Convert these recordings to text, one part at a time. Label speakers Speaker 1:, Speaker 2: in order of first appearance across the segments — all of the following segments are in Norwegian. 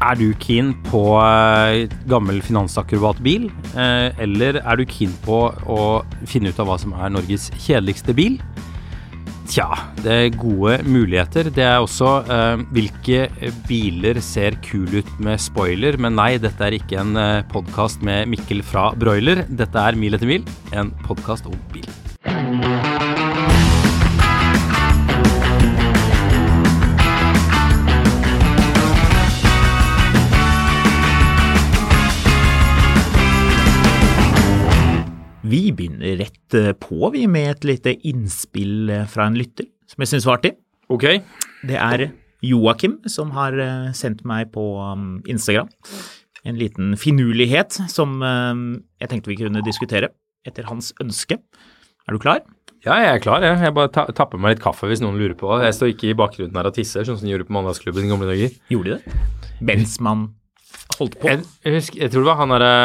Speaker 1: Er du keen på eh, gammel finansakrobatbil, eh, eller er du keen på å finne ut av hva som er Norges kjedeligste bil? Tja, det er gode muligheter. Det er også eh, hvilke biler ser kule ut med spoiler, men nei, dette er ikke en eh, podkast med Mikkel fra Broiler. Dette er Mil etter mil, en podkast om bil.
Speaker 2: Vi begynner rett eh, på vi med et lite innspill eh, fra en lytter som jeg syns var artig.
Speaker 1: Ok.
Speaker 2: Det er Joakim som har eh, sendt meg på um, Instagram en liten finurlighet som eh, jeg tenkte vi kunne diskutere etter hans ønske. Er du klar?
Speaker 1: Ja, jeg er klar. Jeg, jeg bare ta tapper meg litt kaffe hvis noen lurer på det. Jeg står ikke i bakgrunnen her og tisser, sånn som de gjorde på Mandagsklubben i gamle dager.
Speaker 2: Gjorde de det? Mens man holdt på?
Speaker 1: Jeg, jeg, husker, jeg tror det var han derre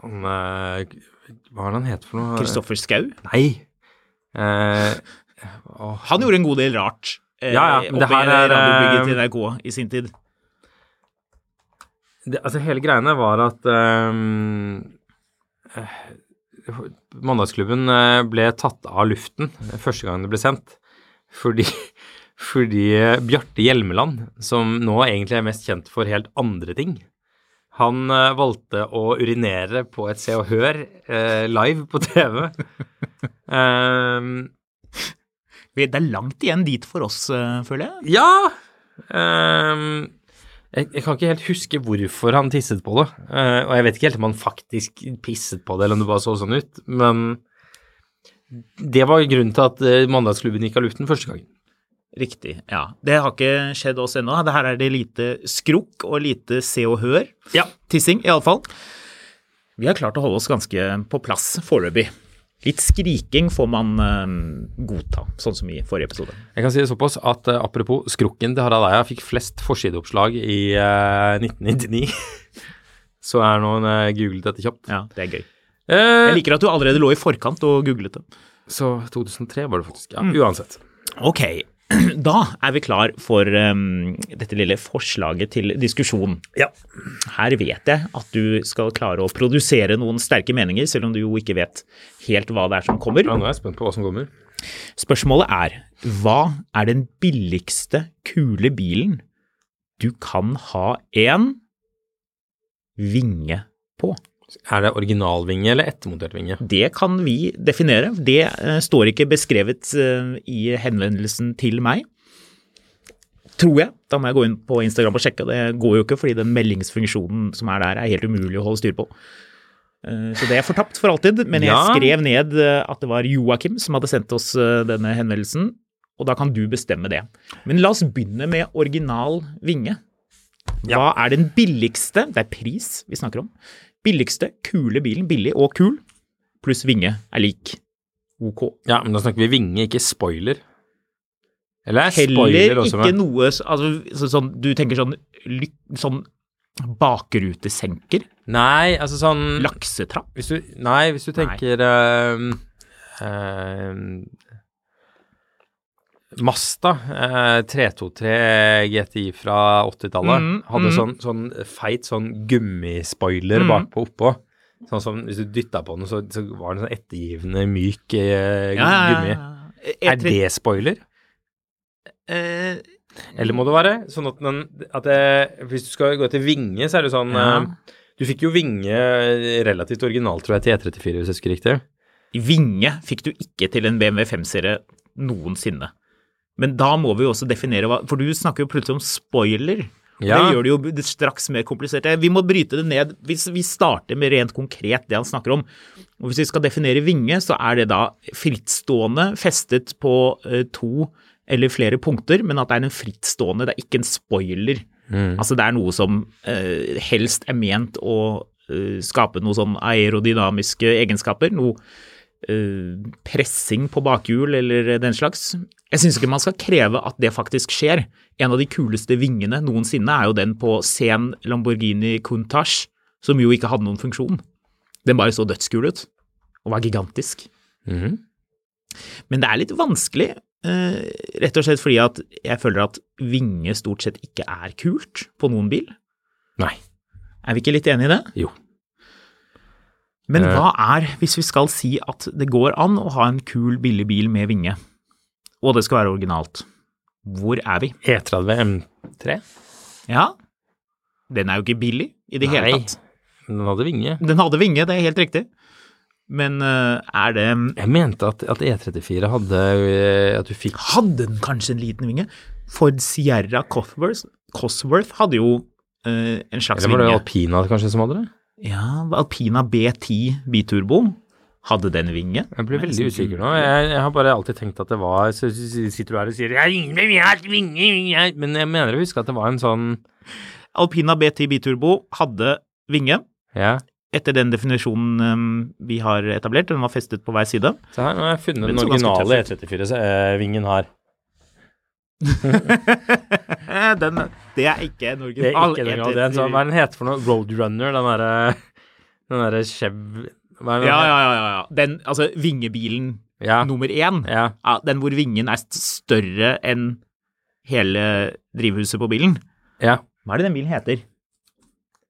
Speaker 1: Han eh, Hva er det han heter for noe?
Speaker 2: Kristoffer Skau?
Speaker 1: Nei. Eh, åh.
Speaker 2: Han gjorde en god del rart. eh,
Speaker 1: Ja, ja, men det
Speaker 2: oppe i
Speaker 1: her er, eh,
Speaker 2: radiobygget til NRK i sin tid.
Speaker 1: det, altså, hele greiene var at eh, eh, Mandagsklubben eh, ble tatt av luften første gang det ble sendt, fordi, fordi eh, Bjarte Hjelmeland, som nå egentlig er mest kjent for helt andre ting, han eh, valgte å urinere på et Se og Hør eh, live på TV. Eh,
Speaker 2: Vi- Det er langt igjen dit for oss, eh, føler jeg.
Speaker 1: Ja! Ehm, jeg, jeg kan ikke helt huske hvorfor han tisset på det. Eh, og jeg vet ikke helt om han faktisk pisset på det, eller om det bare så sånn ut. Men det var grunnen til at eh, mandagsklubben gikk av luften første gangen.
Speaker 2: Riktig, ja. Det har ikke skjedd oss ennå. Det her er det lite skrukk og lite se og hør.
Speaker 1: Ja.
Speaker 2: Tissing, iallfall. Vi har klart å holde oss ganske på plass foreløpig. Litt skriking får man eh, godta, sånn som i forrige episode.
Speaker 1: Jeg kan si det såpass at eh, apropos skrukken til Harald Eia fikk flest forsideoppslag i eh, 1999. så er noen uh, googlet dette kjapt.
Speaker 2: Ja, Det er gøy.
Speaker 1: Eh,
Speaker 2: Jeg liker at du allerede lå i forkant og googlet det.
Speaker 1: Så 2003 var det faktisk. Ja, uansett.
Speaker 2: Ok, da er vi klar for um, dette lille forslaget til diskusjon.
Speaker 1: Ja.
Speaker 2: Her vet jeg at du skal klare å produsere noen sterke meninger, selv om du jo ikke vet helt hva det er som kommer.
Speaker 1: nå er jeg spent på hva som kommer.
Speaker 2: Spørsmålet er, hva er den billigste kule bilen du kan ha en vinge på?
Speaker 1: Er det originalvinge eller ettermontert vinge?
Speaker 2: Det kan vi definere. Det eh, står ikke beskrevet eh, i henvendelsen til meg. Tror jeg. Da må jeg gå inn på Instagram og sjekke. Det går jo ikke, fordi den meldingsfunksjonen som er der, er helt umulig å holde styr på. Eh, Så det er fortapt for alltid. Men jeg
Speaker 1: Ja.
Speaker 2: skrev ned eh, at det var Joakim som hadde sendt oss eh, denne henvendelsen. Og da kan du bestemme det. Men la oss begynne med original vinge. Hva er den billigste, det er pris vi snakker om, billigste kule bilen, billig og kul, pluss vinge er lik OK.
Speaker 1: Ja, men da snakker vi vinge, ikke spoiler. Eller er spoiler
Speaker 2: Heller
Speaker 1: også
Speaker 2: ikke
Speaker 1: med?
Speaker 2: noe s- altså, så, sånn, Du tenker sånn, ly- sånn bakrutesenker?
Speaker 1: Nei, altså sånn
Speaker 2: Laksetrapp?
Speaker 1: hvis du, Nei, hvis du tenker ehm, ehm, Mazda eh, 323 GTI fra 80-tallet
Speaker 2: Mm,
Speaker 1: hadde
Speaker 2: mm.
Speaker 1: sånn, sånn feit sånn gummispoiler bakpå oppå. Sånn som hvis du dytta på den, så, så var den sånn ettergivende myk eh, gummi.
Speaker 2: E Ja, ja, ja.
Speaker 1: Er det spoiler? eh, Eller må det være sånn at den at det, Hvis du skal gå etter vinge, så er det sånn
Speaker 2: Ja.
Speaker 1: eh, Du fikk jo vinge relativt originalt, tror jeg, til E34, hvis jeg husker riktig.
Speaker 2: Vinge fikk du ikke til en BMW 5-serie noensinne. Men da må vi jo også definere hva For du snakker jo plutselig om spoiler. og
Speaker 1: Ja.
Speaker 2: Det gjør det jo b- straks mer komplisert. Vi må bryte det ned. Hvis vi starter med rent konkret det han snakker om. Og Hvis vi skal definere vinge, så er det da frittstående festet på eh, to eller flere punkter, men at det er en frittstående, det er ikke en spoiler. Altså det er noe som eh, helst er ment å eh, skape noe sånn aerodynamiske egenskaper. Noe eh, pressing på bakhjul eller den slags. Jeg syns ikke man skal kreve at det faktisk skjer. En av de kuleste vingene noensinne er jo den på sen Lamborghini Countach, som jo ikke hadde noen funksjon. Den bare så dødskul ut, og var gigantisk.
Speaker 1: Mhm.
Speaker 2: Men det er litt vanskelig, eh, rett og slett fordi at jeg føler at vinge stort sett ikke er kult på noen bil.
Speaker 1: Nei.
Speaker 2: Er vi ikke litt enige i det?
Speaker 1: Jo.
Speaker 2: Men
Speaker 1: Eh.
Speaker 2: hva er, hvis vi skal si at det går an å ha en kul, billig bil med vinge, og det skal være originalt, hvor er vi?
Speaker 1: E E30 M3?
Speaker 2: Ja, den er jo ikke billig i det hele tatt.
Speaker 1: Den hadde vinge.
Speaker 2: Den hadde vinge, det er helt riktig. Men eh, er det
Speaker 1: Jeg mente at, at E E34 hadde eh, At du fikk
Speaker 2: Hadde den kanskje en liten vinge? Ford Sierra Cosworth, Cosworth hadde jo eh, en slags
Speaker 1: Eller var det
Speaker 2: vinge.
Speaker 1: alpina kanskje som hadde det?
Speaker 2: Ja, Alpina B10 biturbo. Hadde den vinge?
Speaker 1: Jeg blir
Speaker 2: Nei,
Speaker 1: veldig
Speaker 2: så
Speaker 1: usikker
Speaker 2: gul.
Speaker 1: nå. Jeg, jeg har bare alltid tenkt at det var Så s- s- sitter du her og sier «Jeg ringer, jeg har vinge, jeg», Men jeg mener å huske at det var en sånn
Speaker 2: Alpina B10 biturbo hadde vinge.
Speaker 1: Ja.
Speaker 2: Etter den definisjonen eh, vi har etablert, den var festet på hver side.
Speaker 1: Se her, nå har jeg funnet
Speaker 2: Men
Speaker 1: den
Speaker 2: så ganske
Speaker 1: originale E E34-vingen her.
Speaker 2: Eh, Den, det er ikke en
Speaker 1: Det er
Speaker 2: original.
Speaker 1: ikke den originale. Det er en sånn, hva er den heter for noe? Roadrunner? Den derre Den derre Chev... Hva er
Speaker 2: Ja,
Speaker 1: den?
Speaker 2: ja, ja. ja, ja. Den, altså vingebilen
Speaker 1: ja.
Speaker 2: nummer én,
Speaker 1: ja.
Speaker 2: ja, den hvor vingen er st- større enn hele drivhuset på bilen.
Speaker 1: ja.
Speaker 2: Hva er det den bilen heter?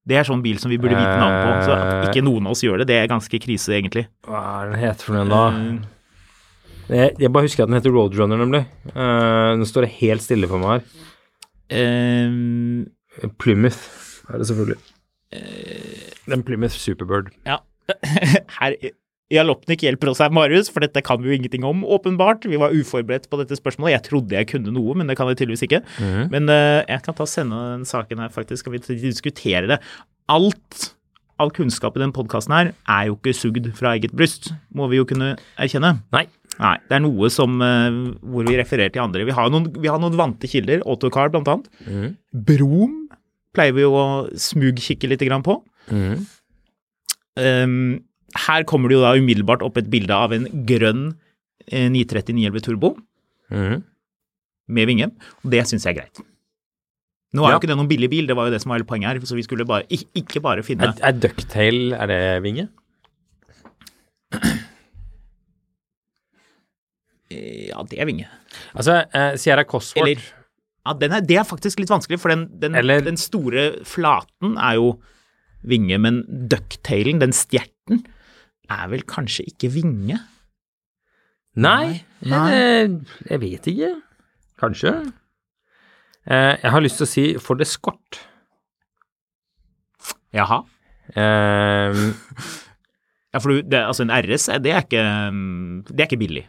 Speaker 2: Det er sånn bil som vi burde vite navnet på, så at
Speaker 1: Eh.
Speaker 2: ikke noen av oss gjør det, det er ganske krise, egentlig.
Speaker 1: Hva er den heter for noe da? Jeg, jeg bare husker at den heter Roadrunner, nemlig. Eh, nå står det helt stille for meg her.
Speaker 2: Eh,
Speaker 1: Plymouth er det selvfølgelig. den Eh, Plymouth Superbird.
Speaker 2: Ja. Her, Jalopnik hjelper oss her, Marius, for dette kan vi jo ingenting om, åpenbart. Vi var uforberedt på dette spørsmålet. Jeg trodde jeg kunne noe, men det kan jeg tydeligvis ikke. Men eh, jeg kan ta og sende den saken her, faktisk, skal vi t- diskutere det. Alt av kunnskap i den podkasten her er jo ikke sugd fra eget bryst, må vi jo kunne erkjenne.
Speaker 1: Nei.
Speaker 2: Nei, det er noe som eh, hvor vi refererer til andre. Vi har noen, vi har noen vante kilder, Autocar blant annet. Brom pleier vi jo å smugkikke litt grann på. Ehm, her kommer det jo da umiddelbart opp et bilde av en grønn eh, 930 911 Turbo
Speaker 1: Mhm.
Speaker 2: med vinge, og det syns jeg er greit. Nå
Speaker 1: Ja.
Speaker 2: er jo ikke det noen billig bil, det var jo det som var hele poenget her, så vi skulle bare, ik- ikke bare finne
Speaker 1: Er, er Ducktail Er det vinge?
Speaker 2: Ja, det er vinge.
Speaker 1: Altså, eh, Sierra Cosworth
Speaker 2: Eller Ja, den er, det er faktisk litt vanskelig, for den, den,
Speaker 1: Eller-
Speaker 2: den store flaten er jo vinge, men ducktailen, den stjerten, er vel kanskje ikke vinge?
Speaker 1: Nei.
Speaker 2: Nei.
Speaker 1: Jeg, jeg vet ikke. Kanskje. Eh, jeg har lyst til å si for det skort.
Speaker 2: Jaha.
Speaker 1: Eh,
Speaker 2: Ja, for du, det, altså en RS, er- det er ikke, um, det er ikke billig.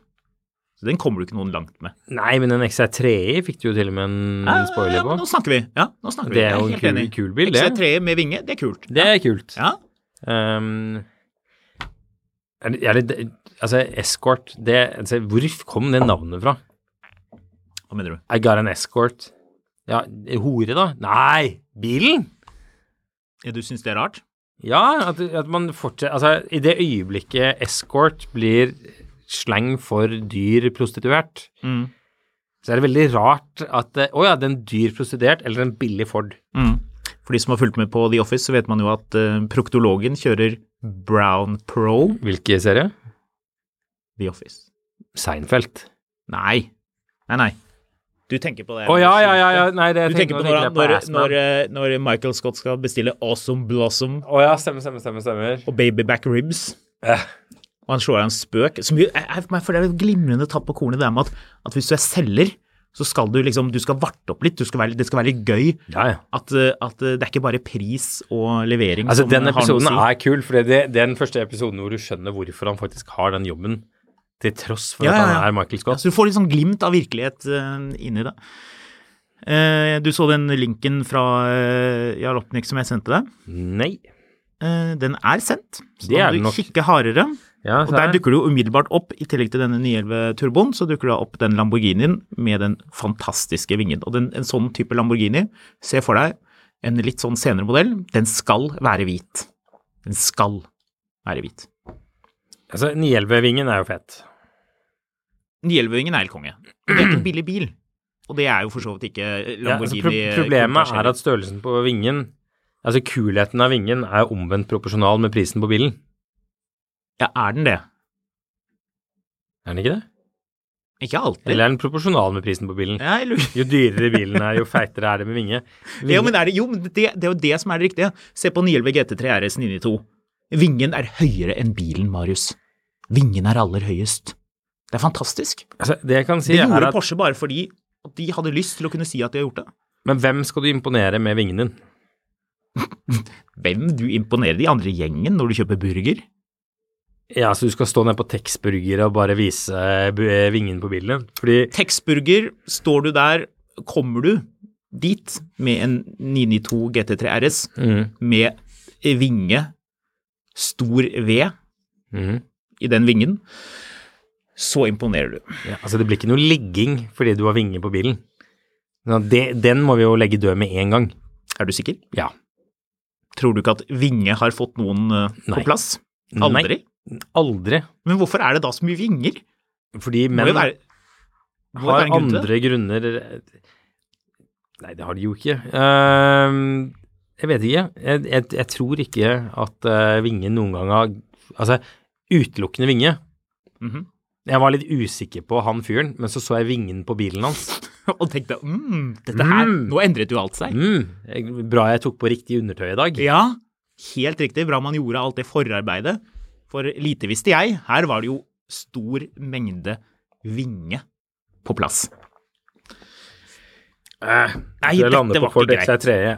Speaker 2: Så den kommer du ikke noen langt med.
Speaker 1: nei, men en XR3i fikk du jo til og med
Speaker 2: Ja,
Speaker 1: en
Speaker 2: ja,
Speaker 1: spoiler
Speaker 2: men nå
Speaker 1: på.
Speaker 2: snakker vi. Ja, nå snakker vi.
Speaker 1: Det er jo en
Speaker 2: Jeg helt
Speaker 1: kul,
Speaker 2: enig.
Speaker 1: kul bil, det.
Speaker 2: XC3 med vinge, det er kult.
Speaker 1: Det er kult.
Speaker 2: Ja,
Speaker 1: Um, er det, er det, altså, escort det, altså, Hvor kom det navnet fra?
Speaker 2: hva mener du?
Speaker 1: I got an escort. Ja, hore, da? Nei, bilen!
Speaker 2: Ja, du syns det er rart?
Speaker 1: Ja, at, at man fortsetter Altså, i det øyeblikket escort blir slang for dyr prostituert,
Speaker 2: Mm.
Speaker 1: så er det veldig rart at eh, Å ja, det er en dyr prostituert eller en billig Ford.
Speaker 2: For de som har fulgt med på The Office, så vet man jo at eh, proktologen kjører Brown Pro
Speaker 1: Hvilken serie?
Speaker 2: The Office.
Speaker 1: Seinfeld.
Speaker 2: Nei. Nei, nei. Du tenker på det.
Speaker 1: Å ja, ja, ja, ja. Nei, det
Speaker 2: Du tenker på
Speaker 1: nå
Speaker 2: når,
Speaker 1: jeg
Speaker 2: han- når,
Speaker 1: Assman.
Speaker 2: når, eh, når Michael Scott skal bestille Awesome Blossom
Speaker 1: Å ja, stemmer, stemmer, stemmer. stemmer.
Speaker 2: og Babyback Ribs. Og han slår av en spøk. Som, jo- jeg, jeg, for det er jo et glimrende tatt på kornet, det der med at, at hvis du er selger, så skal du liksom Du skal varte opp litt. Du skal være, det skal være litt gøy.
Speaker 1: Ja, ja.
Speaker 2: At, eh, at eh, det er ikke bare pris og levering
Speaker 1: Altså,
Speaker 2: som
Speaker 1: den episoden
Speaker 2: har noe å si.
Speaker 1: er kul, for det, det er den første episoden hvor du skjønner hvorfor han faktisk har den jobben, til tross for
Speaker 2: Ja,
Speaker 1: at
Speaker 2: ja,
Speaker 1: han
Speaker 2: ja.
Speaker 1: er Michael Scott.
Speaker 2: Så du får litt sånn glimt av virkelighet eh, inni det. Eh, du så den linken fra uh, Jalopnik som jeg sendte deg.
Speaker 1: Nei.
Speaker 2: Eh, den er sendt, så
Speaker 1: Det er
Speaker 2: da må
Speaker 1: den
Speaker 2: du
Speaker 1: nok.
Speaker 2: kikke hardere.
Speaker 1: Ja,
Speaker 2: Og der dukker det jo umiddelbart opp, i tillegg til denne 911 turboen, så dukker det opp den Lamborghinien med den fantastiske vingen. Og den, en sånn type Lamborghini, se for deg en litt sånn senere modell, den skal være hvit. Den skal være hvit.
Speaker 1: altså, 911-vingen er jo fett.
Speaker 2: 911-vingen er helt konge. Det er ikke en billig bil. Og det er jo for så vidt ikke
Speaker 1: Ja, altså,
Speaker 2: Lamborghini.
Speaker 1: pro problemet
Speaker 2: Countach
Speaker 1: er at størrelsen på vingen Altså, kulheten av vingen er omvendt proporsjonal med prisen på bilen.
Speaker 2: Ja, er den det?
Speaker 1: Er den ikke det?
Speaker 2: Ikke alltid.
Speaker 1: Eller er den proporsjonal med prisen på bilen?
Speaker 2: Ja, jeg lurer.
Speaker 1: Jo dyrere bilen er, jo feitere er det med vinge.
Speaker 2: Ja, men er det, jo, men det, det er jo det som er det riktige. Se på 911 GT3 RS 992. Vingen er høyere enn bilen, Marius. Vingen er aller høyest. Det er fantastisk.
Speaker 1: Altså, det jeg kan si
Speaker 2: Det
Speaker 1: er
Speaker 2: gjorde
Speaker 1: at
Speaker 2: Porsche bare fordi at de hadde lyst til å kunne si at de har gjort det.
Speaker 1: Men hvem skal du imponere med vingen din?
Speaker 2: Hvem du imponerer de andre i gjengen når du kjøper burger?
Speaker 1: Ja, så du skal stå ned på Texburger og bare vise eh, bu- eh, vingen på bilen? Fordi
Speaker 2: Texburger, står du der, kommer du dit med en 992 GT3 RS
Speaker 1: Mm.
Speaker 2: med vinge, stor V
Speaker 1: Mhm.
Speaker 2: i den vingen, så imponerer du.
Speaker 1: ja, Altså, det blir ikke noe ligging fordi du har vinger på bilen. Nå, det, den må vi jo legge død med en gang.
Speaker 2: Er du sikker?
Speaker 1: Ja.
Speaker 2: Tror du ikke at Vinge har fått noen eh,
Speaker 1: Nei.
Speaker 2: på plass? Aldri?
Speaker 1: Nei, aldri.
Speaker 2: Men hvorfor er det da så mye vinger?
Speaker 1: Fordi
Speaker 2: Må
Speaker 1: menn
Speaker 2: jo være, må jo
Speaker 1: har
Speaker 2: være en grunn til det.
Speaker 1: andre grunner Nei, det har de jo ikke. Ehm, jeg vet ikke. Jeg, jeg, jeg tror ikke at eh, Vinge noen gang har Altså, utelukkende Vinge.
Speaker 2: Mhm.
Speaker 1: Jeg var litt usikker på han fyren, men så så jeg vingen på bilen hans.
Speaker 2: Og tenkte mm, dette her,
Speaker 1: Mm.
Speaker 2: nå endret jo alt seg.
Speaker 1: Mm, jeg- bra jeg tok på riktig undertøy i dag.
Speaker 2: Ja, helt riktig. Bra man gjorde alt det forarbeidet. For lite visste jeg, her var det jo stor mengde Vinge på plass. Nei,
Speaker 1: Eh, Så jeg
Speaker 2: dette
Speaker 1: landet på
Speaker 2: var
Speaker 1: Ford
Speaker 2: ikke greit.
Speaker 1: XR3.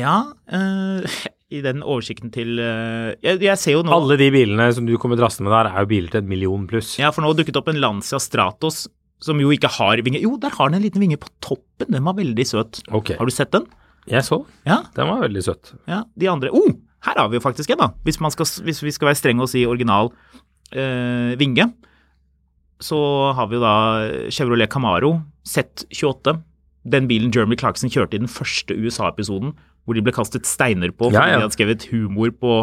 Speaker 2: Ja, eh, i den oversikten til eh, jeg, jeg ser jo nå
Speaker 1: Alle de bilene som du kommer drassende med der, er jo biler til et million pluss.
Speaker 2: Ja, for nå dukket det opp en Lancia Stratos som jo ikke har vinge. Jo, der har den en liten vinge på toppen. Den var veldig søt.
Speaker 1: Ok.
Speaker 2: Har du sett den?
Speaker 1: Jeg så.
Speaker 2: Ja.
Speaker 1: Den var veldig søt.
Speaker 2: ja de andre Oh, her har vi jo faktisk en, da. Hvis, man skal, hvis vi skal være strenge og si original eh, vinge, så har vi jo da Chevrolet Camaro Z28. Den bilen Jeremy Clarkson kjørte i den første USA-episoden, hvor de ble kastet steiner på fordi
Speaker 1: Ja, ja.
Speaker 2: de hadde skrevet humor på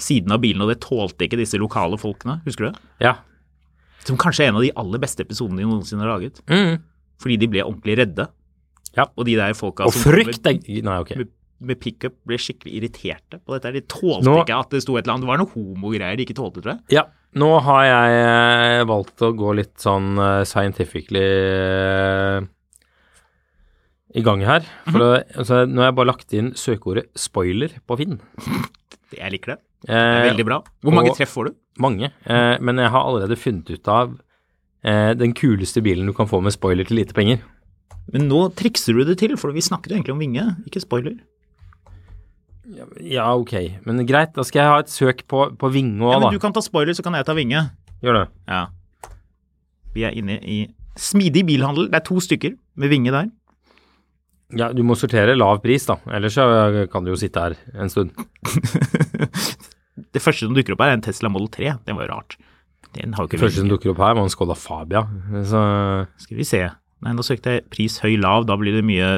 Speaker 2: siden av bilen, og det tålte ikke disse lokale folkene. Husker du det?
Speaker 1: Ja.
Speaker 2: Som kanskje er en av de aller beste episodene de noensinne har laget.
Speaker 1: Mm.
Speaker 2: fordi de ble ordentlig redde.
Speaker 1: Ja.
Speaker 2: Og de der folka
Speaker 1: Og
Speaker 2: som
Speaker 1: frykt
Speaker 2: kom
Speaker 1: er Nei, ok.
Speaker 2: med, med, med pickup ble skikkelig irriterte på dette. her. De tålte
Speaker 1: Nå-
Speaker 2: ikke at det sto et eller annet. Det var noe homogreier de ikke tålte, tror jeg.
Speaker 1: Ja, nå har jeg eh, valgt å gå litt sånn eh, scientifically eh, i gang her. For
Speaker 2: Mhm.
Speaker 1: å, altså, nå har jeg bare lagt inn søkeordet 'spoiler' på Finn.
Speaker 2: Jeg liker det. det er
Speaker 1: Eh,
Speaker 2: veldig bra. Hvor mange
Speaker 1: og-
Speaker 2: treff får du?
Speaker 1: mange. Eh, men jeg har allerede funnet ut av eh, den kuleste bilen du kan få med spoiler til lite penger.
Speaker 2: Men nå trikser du det til, for vi snakket jo egentlig om vinge, ikke spoiler.
Speaker 1: Ja, ok. Men greit, da skal jeg ha et søk på, på Vinge
Speaker 2: Ja,
Speaker 1: òg, da.
Speaker 2: men du kan ta spoiler, så kan jeg ta vinge.
Speaker 1: Gjør det.
Speaker 2: Ja. Vi er inne i smidig bilhandel. Det er to stykker med vinge der.
Speaker 1: Ja, du må sortere lav pris, da. Ellers så kan du jo sitte her en stund.
Speaker 2: Det første som dukker opp her, er en Tesla Model 3. Det var jo rart. Den har jo ikke
Speaker 1: Første som
Speaker 2: vinge.
Speaker 1: dukker opp her, var en Skoda Fabia. Så
Speaker 2: Skal vi se. Nei, nå søkte jeg pris høy lav. Da blir det mye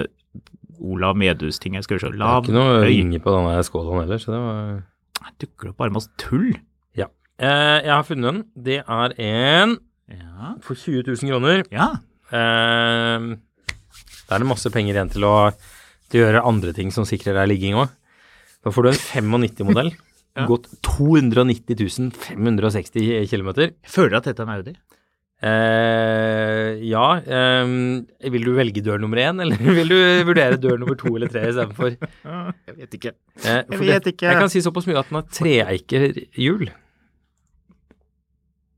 Speaker 2: Olav Medhus-ting. Jeg skal jo se. Lav,
Speaker 1: Ikke noe
Speaker 2: høy.
Speaker 1: ringer på den der skålen heller, så det var
Speaker 2: Nei, dukker det opp bare masse tull?
Speaker 1: Ja. Eh, jeg har funnet den. Det er en
Speaker 2: Ja.
Speaker 1: for 20 000 kroner.
Speaker 2: ja.
Speaker 1: Eh, da er det masse penger igjen til å, til å gjøre andre ting som sikrer deg ligging òg. Da får du en 95-modell.
Speaker 2: Ja.
Speaker 1: Gått 290 560 km.
Speaker 2: Jeg føler at dette er en Audi.
Speaker 1: Eh, ja eh, Vil du velge dør nummer én, eller vil du vurdere dør nummer to eller tre istedenfor?
Speaker 2: Jeg vet ikke.
Speaker 1: Eh, for
Speaker 2: vet
Speaker 1: det-
Speaker 2: ikke.
Speaker 1: Jeg kan si såpass mye at den har treeikerhjul.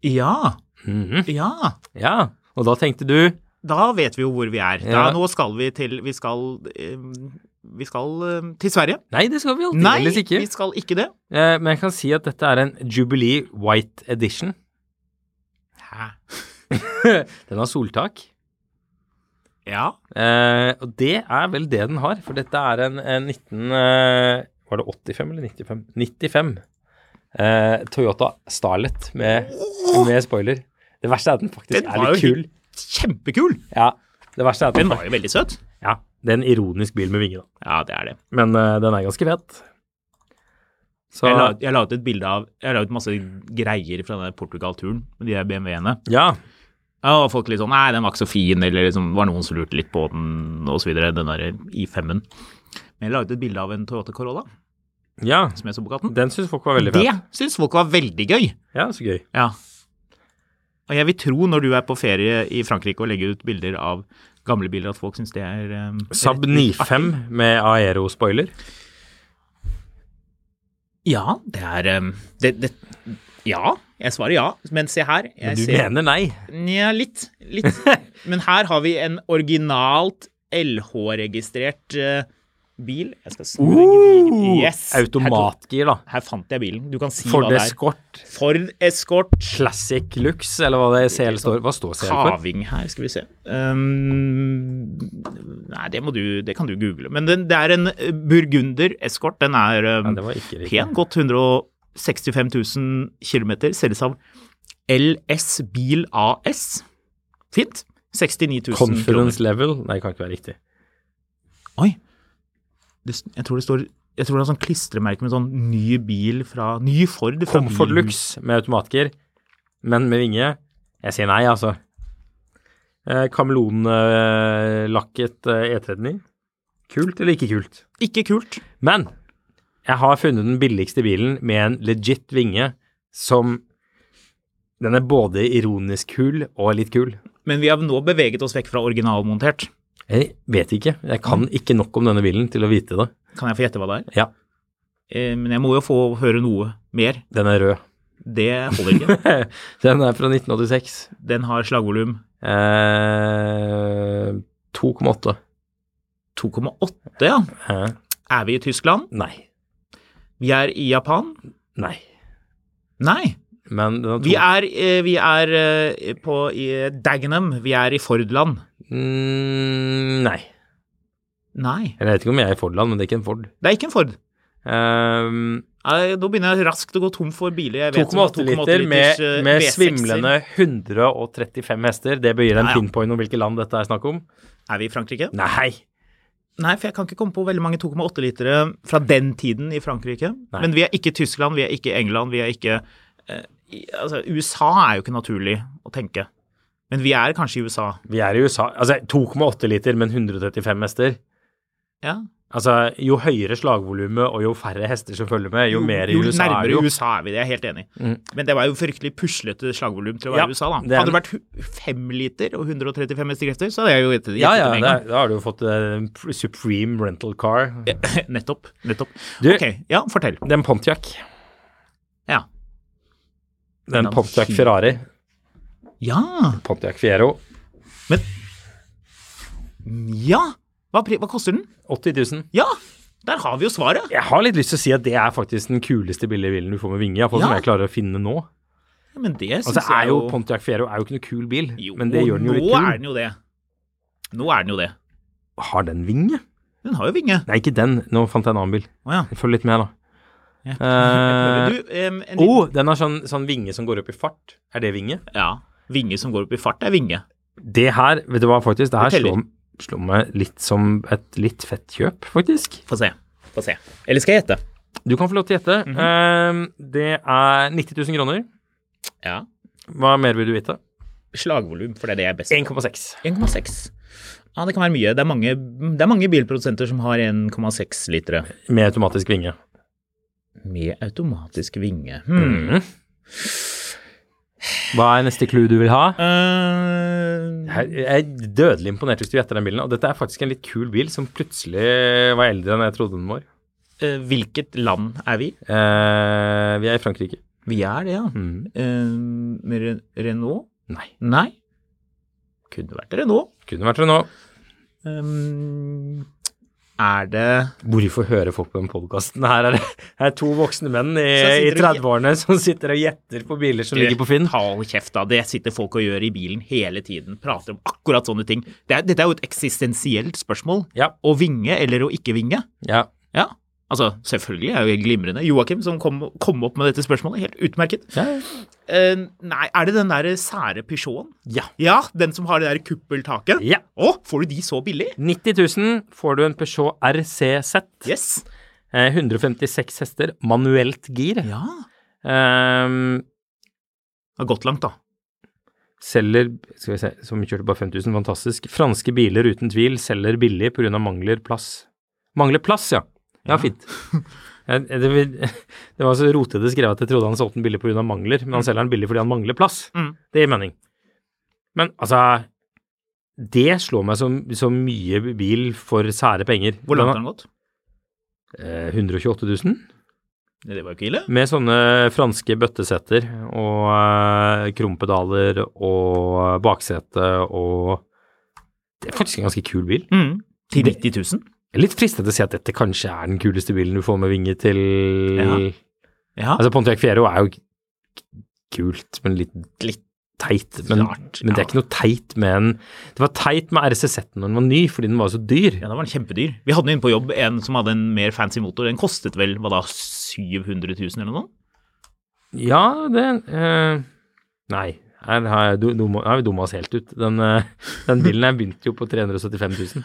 Speaker 2: Ja.
Speaker 1: Mhm.
Speaker 2: Ja.
Speaker 1: Ja, og da tenkte du
Speaker 2: Da vet vi jo hvor vi er. Da,
Speaker 1: Ja.
Speaker 2: nå skal vi til Vi skal, eh, vi skal eh, til Sverige.
Speaker 1: Nei, det skal vi
Speaker 2: Nei,
Speaker 1: alldeles ikke.
Speaker 2: vi skal ikke det.
Speaker 1: Eh, men jeg kan si at dette er en Jubilee White Edition.
Speaker 2: Hæ?
Speaker 1: Den har soltak.
Speaker 2: Ja.
Speaker 1: Eh, og det er vel det den har, for dette er en, en 19... eh, var det 85 eller 95? 95. Eh, Toyota Starlet med, med spoiler. Det verste er at den faktisk
Speaker 2: Den
Speaker 1: er
Speaker 2: var
Speaker 1: litt
Speaker 2: jo
Speaker 1: kul.
Speaker 2: Kjempekul!
Speaker 1: Ja, det verste er at
Speaker 2: Den
Speaker 1: den,
Speaker 2: var jo veldig søt.
Speaker 1: ja, det er en ironisk bil med vinge, da.
Speaker 2: Ja, det er det.
Speaker 1: Men eh, den er ganske fet. Så
Speaker 2: Jeg la, jeg la ut et bilde av Jeg la ut masse greier fra den der Portugal-turen med de der BMW-ene.
Speaker 1: Ja.
Speaker 2: Ja, og folk litt sånn Nei, den var ikke så fin, eller liksom var noen som lurte litt på den, og så videre. Den der I5-en. Men jeg la ut et bilde av en Toyota Corolla
Speaker 1: ja.
Speaker 2: som jeg så på gaten.
Speaker 1: Den syns folk var veldig
Speaker 2: Det
Speaker 1: fet.
Speaker 2: syns folk var veldig gøy.
Speaker 1: Ja, så gøy.
Speaker 2: Ja. Og jeg vil tro, når du er på ferie i Frankrike og legger ut bilder av gamle biler, at folk syns det er um,
Speaker 1: Saab 95 med aero-spoiler.
Speaker 2: Ja, det er um, det, det, Ja, jeg svarer ja. Men se her. Jeg
Speaker 1: Men du
Speaker 2: ser,
Speaker 1: mener nei?
Speaker 2: Nja, litt. Litt. Men her har vi en originalt LH-registrert eh, bil. Jeg skal snu den gnigen. Yes!
Speaker 1: Automatgir, da.
Speaker 2: Her, her fant jeg bilen. Du kan si
Speaker 1: Ford
Speaker 2: hva det er.
Speaker 1: Escort
Speaker 2: Ford Escort.
Speaker 1: Classic Lux, eller hva det CL står Hva står CL for?
Speaker 2: Kaving her, skal vi se. Um, nei, det, må du, det kan du google. Men den, det er en eh, burgunder eskort. Den er um,
Speaker 1: Nei, det var ikke riktig.
Speaker 2: pen. Godt 165 000 km. Selges av LS Bil AS. Fint. 69 000
Speaker 1: Confidence level Nei, det kan ikke være riktig.
Speaker 2: kroner. Oi. Det, s- jeg tror det står jeg tror det er sånn klistremerke med sånn ny bil fra Ny Ford fra
Speaker 1: Comfort
Speaker 2: bilen.
Speaker 1: Lux med automatgir, men med vinge. Jeg sier nei, altså. Eh, Kameleonlakket eh, E39. Kult eller ikke kult?
Speaker 2: Ikke kult.
Speaker 1: Men jeg har funnet den billigste bilen med en legit vinge som Den er både ironisk kul og litt kul.
Speaker 2: Men vi har nå beveget oss vekk fra originalmontert.
Speaker 1: Jeg vet ikke. Jeg kan ikke nok om denne bilen til å vite det.
Speaker 2: Kan jeg få gjette hva det er?
Speaker 1: Ja,
Speaker 2: Eh, Men jeg må jo få høre noe mer.
Speaker 1: den er rød.
Speaker 2: Det holder ikke.
Speaker 1: Den er fra 1986.
Speaker 2: Den har slagvolum
Speaker 1: Eh, 2,8.
Speaker 2: 2,8, ja.
Speaker 1: Eh,
Speaker 2: Er vi i Tyskland?
Speaker 1: nei.
Speaker 2: Vi er i Japan?
Speaker 1: Nei.
Speaker 2: Nei.
Speaker 1: Men den har to
Speaker 2: Vi er, eh, vi er eh, på i Dagenham. Vi er i Fordland.
Speaker 1: mm, Nei.
Speaker 2: Nei,
Speaker 1: Jeg vet ikke om jeg er i Fordland, men det er ikke en Ford.
Speaker 2: det er ikke en Ford.
Speaker 1: Eh,
Speaker 2: Nei, Nå begynner jeg raskt å gå tom for biler. Jeg vet som har
Speaker 1: 2,8 liter med,
Speaker 2: 2,8 liters, eh,
Speaker 1: med
Speaker 2: V6-er.
Speaker 1: svimlende 135 hester. Det bøyer en
Speaker 2: Ja, ja.
Speaker 1: pinpoint om hvilket land dette er snakk om.
Speaker 2: Er vi i Frankrike?
Speaker 1: Nei!
Speaker 2: Nei, for jeg kan ikke komme på veldig mange 2,8-litere fra den tiden i Frankrike.
Speaker 1: Nei.
Speaker 2: Men vi er ikke Tyskland, vi er ikke England, vi er ikke eh, i- Altså, USA er jo ikke naturlig å tenke. Men vi er kanskje i USA.
Speaker 1: Vi er i USA. Altså, 2,8 liter, men 135 hester.
Speaker 2: Ja.
Speaker 1: Altså, jo høyere slagvolumet og jo færre hester som følger med, jo, mer i
Speaker 2: jo
Speaker 1: USA er det
Speaker 2: nærmere
Speaker 1: jo. Mm.
Speaker 2: USA er vi, det er jeg helt enig i. Men det var jo fryktelig puslete slagvolum til å være
Speaker 1: Ja,
Speaker 2: i USA, da.
Speaker 1: det er-
Speaker 2: Hadde det vært hu- fem liter og 135 hestekrefter, så hadde jeg jo gjettet
Speaker 1: Ja, ja,
Speaker 2: gjettet det med
Speaker 1: da,
Speaker 2: en
Speaker 1: da har du jo fått eh, Supreme Rental Car.
Speaker 2: gang. nettopp. Nettopp.
Speaker 1: Du-
Speaker 2: Ok, ja, fortell.
Speaker 1: Det er en Pontiac.
Speaker 2: Ja.
Speaker 1: Det er
Speaker 2: Den
Speaker 1: en Pontiac
Speaker 2: fin-
Speaker 1: Ferrari.
Speaker 2: Ja!
Speaker 1: Pontiac Fiero.
Speaker 2: Ja! Hva, pri- hva koster den?
Speaker 1: 80 000.
Speaker 2: Ja! Der har vi jo svaret.
Speaker 1: Jeg har litt lyst til å si at det er faktisk den kuleste billige bilen du får med vinge. Iallfall fall som
Speaker 2: Ja.
Speaker 1: jeg klarer å finne nå.
Speaker 2: Ja, Men det syns
Speaker 1: Altså, er
Speaker 2: jeg
Speaker 1: jo Pontiac Fiero er jo ikke noe kul bil,
Speaker 2: Jo,
Speaker 1: men det gjør den jo litt
Speaker 2: nå er
Speaker 1: kul.
Speaker 2: den jo det. Nå er den jo det.
Speaker 1: Har den vinge?
Speaker 2: Den har jo vinge.
Speaker 1: Nei, ikke den. Nå fant jeg en annen bil.
Speaker 2: Å ja.
Speaker 1: Følg litt med, da.
Speaker 2: Jeg
Speaker 1: Eh,
Speaker 2: prøver. Du, em, en
Speaker 1: Å,
Speaker 2: liten,
Speaker 1: den har sånn, sånn vinge som går opp i fart. Er det vinge?
Speaker 2: ja. Vinge som går opp i fart, er vinge.
Speaker 1: Det her, vet du hva, faktisk, det her
Speaker 2: Det teller.
Speaker 1: slår, slår meg litt som et litt fett kjøp, faktisk.
Speaker 2: Få se. Få se. Eller skal jeg gjette?
Speaker 1: Du kan få lov til å gjette.
Speaker 2: Mhm.
Speaker 1: Eh, det er 90 000 kroner.
Speaker 2: Ja.
Speaker 1: Hva mer vil du vite?
Speaker 2: Slagvolum, for det er det jeg er best på.
Speaker 1: 1,6.
Speaker 2: 1,6. Ja, det kan være mye. Det er mange, det er mange bilprodusenter som har 1,6 litere
Speaker 1: Med automatisk vinge.
Speaker 2: med automatisk vinge. Hmm.
Speaker 1: Mhm. Hva er neste clue du vil ha?
Speaker 2: Eh,
Speaker 1: Jeg jeg er dødelig imponert hvis du gjetter den bilen. Og dette er faktisk en litt kul bil som plutselig var eldre enn jeg trodde den var.
Speaker 2: eh, hvilket land er vi?
Speaker 1: Eh, vi er i Frankrike.
Speaker 2: Vi er det, ja.
Speaker 1: Mm.
Speaker 2: Eh, Re- Renault?
Speaker 1: Nei.
Speaker 2: Nei. Kunne vært Renault.
Speaker 1: Kunne vært Renault.
Speaker 2: Um, er det
Speaker 1: Hvorfor hører folk på den podkasten? Her er det her er to voksne menn i, i
Speaker 2: Som sitter og-
Speaker 1: 30-årene som sitter og gjetter på biler som ligger på Finn.
Speaker 2: Hold kjeft, da. Det sitter folk og gjør i bilen hele tiden. Prater om akkurat sånne ting. Det er, dette er jo et eksistensielt spørsmål.
Speaker 1: Ja.
Speaker 2: Å vinge eller å ikke vinge.
Speaker 1: Ja.
Speaker 2: Ja. Altså, selvfølgelig er jo helt glimrende. Joakim som kom, kom opp med dette spørsmålet, helt utmerket. Eh, nei, er det den der sære Peugeoten?
Speaker 1: Ja.
Speaker 2: Ja, den som har det der kuppeltaket?
Speaker 1: Ja.
Speaker 2: Å, får du de så billig?
Speaker 1: 90 000 får du en Peugeot RCZ.
Speaker 2: Yes.
Speaker 1: Eh, 156 hester, manuelt gir.
Speaker 2: Ja.
Speaker 1: Ehm,
Speaker 2: Det har gått langt, da.
Speaker 1: selger Skal vi se, som kjørte bare 5000, fantastisk. Franske biler uten tvil selger billig pga. mangler plass. Mangler plass, ja. Ja, fint. Jeg- jeg- Det, vil- det var så rotete skrevet at jeg trodde han solgte den billig pga. mangler, men han selger den billig fordi han mangler plass.
Speaker 2: Mm.
Speaker 1: Det gir mening. Men altså Det slår meg som så mye bil for sære penger.
Speaker 2: Hvor langt har den gått?
Speaker 1: Eh, 128 000.
Speaker 2: Det var jo ikke ille.
Speaker 1: Med sånne franske bøttesetter og eh, krumpedaler og eh, baksete og Det er faktisk en ganske kul bil.
Speaker 2: Mm. Til 90 000?
Speaker 1: Jeg er litt fristet til å si at dette kanskje er den kuleste bilen du får med vinge til
Speaker 2: Ja. Ja.
Speaker 1: Altså Pontiac Fiero er jo k- kult, men litt, litt teit. Men,
Speaker 2: Klart,
Speaker 1: men det
Speaker 2: ja.
Speaker 1: er ikke noe teit med en Det var teit med RCZ-en når den var ny, fordi den var så dyr.
Speaker 2: Ja, den var kjempedyr. Vi hadde inne på jobb en som hadde en mer fancy motor. Den kostet vel hva da, 700 000 eller noe? sånt?
Speaker 1: Ja, det eh, Nei. Her har jeg, du- dumma- her har vi dumma oss helt ut. Den, eh, den bilen her begynte jo på 375 000.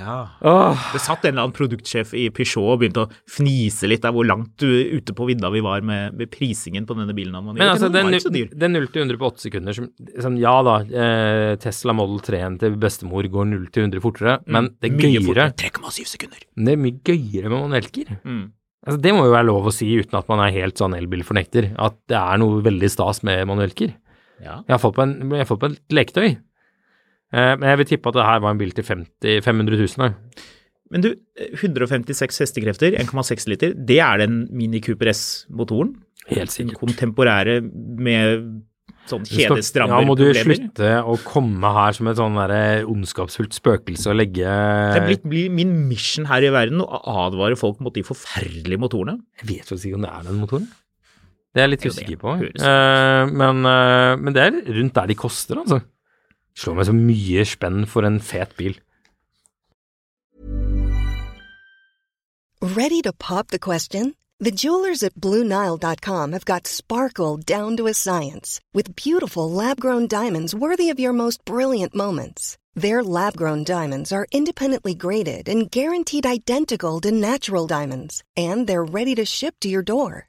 Speaker 1: Åh,
Speaker 2: Det satt en eller annen produktsjef i Peugeot og begynte å fnise litt av hvor langt du, ute på vidda vi var med, med prisingen på denne bilen. han var i.
Speaker 1: men
Speaker 2: Ok,
Speaker 1: altså,
Speaker 2: den var
Speaker 1: den,
Speaker 2: ikke så dyr.
Speaker 1: den 0 til 100 på 8 sekunder som, sånn, Ja da, eh, Tesla Model 3-en til bestemor går 0 til 100 fortere, men det er
Speaker 2: Mm, Mye
Speaker 1: gøyere
Speaker 2: fortere, 3,7 sekunder.
Speaker 1: Men Det er mye gøyere med manuellgir.
Speaker 2: Mm.
Speaker 1: Altså, det må jo være lov å si uten at man er helt sånn elbilfornekter, at det er noe veldig stas med manuellgir.
Speaker 2: Ja.
Speaker 1: Jeg har fått på, en, jeg har fått på et leketøy. Eh, men jeg vil tippe at det her var en bil til 50, 500 000. da.
Speaker 2: Men du, eh, 156 hestekrefter, 1,6 liter, det er den Mini Cooper S-motoren?
Speaker 1: Helt
Speaker 2: Den
Speaker 1: sikkert.
Speaker 2: kontemporære med sånn
Speaker 1: Du skal-
Speaker 2: kjedestrammer
Speaker 1: Ja, må du slutte å komme her som et sånn derre ondskapsfullt spøkelse og legge
Speaker 2: Det
Speaker 1: Eh,
Speaker 2: er blitt blir min mission her i verden å advare folk mot de forferdelige motorene.
Speaker 1: Jeg vet faktisk ikke om det er den motoren. Det er jeg litt
Speaker 2: Det er jo
Speaker 1: usikker
Speaker 2: det.
Speaker 1: på.
Speaker 2: Høres ut.
Speaker 1: Eh, men, eh, men det er rundt der de koster, altså. Slår meg så mye spenn for en fet bil.
Speaker 3: Ready to pop the question? The jewelers at BlueNile.com have got sparkle down to a science with beautiful lab grown diamonds worthy of your most brilliant moments. Their lab grown diamonds are independently graded and guaranteed identical to natural diamonds, and they're ready to ship to your door.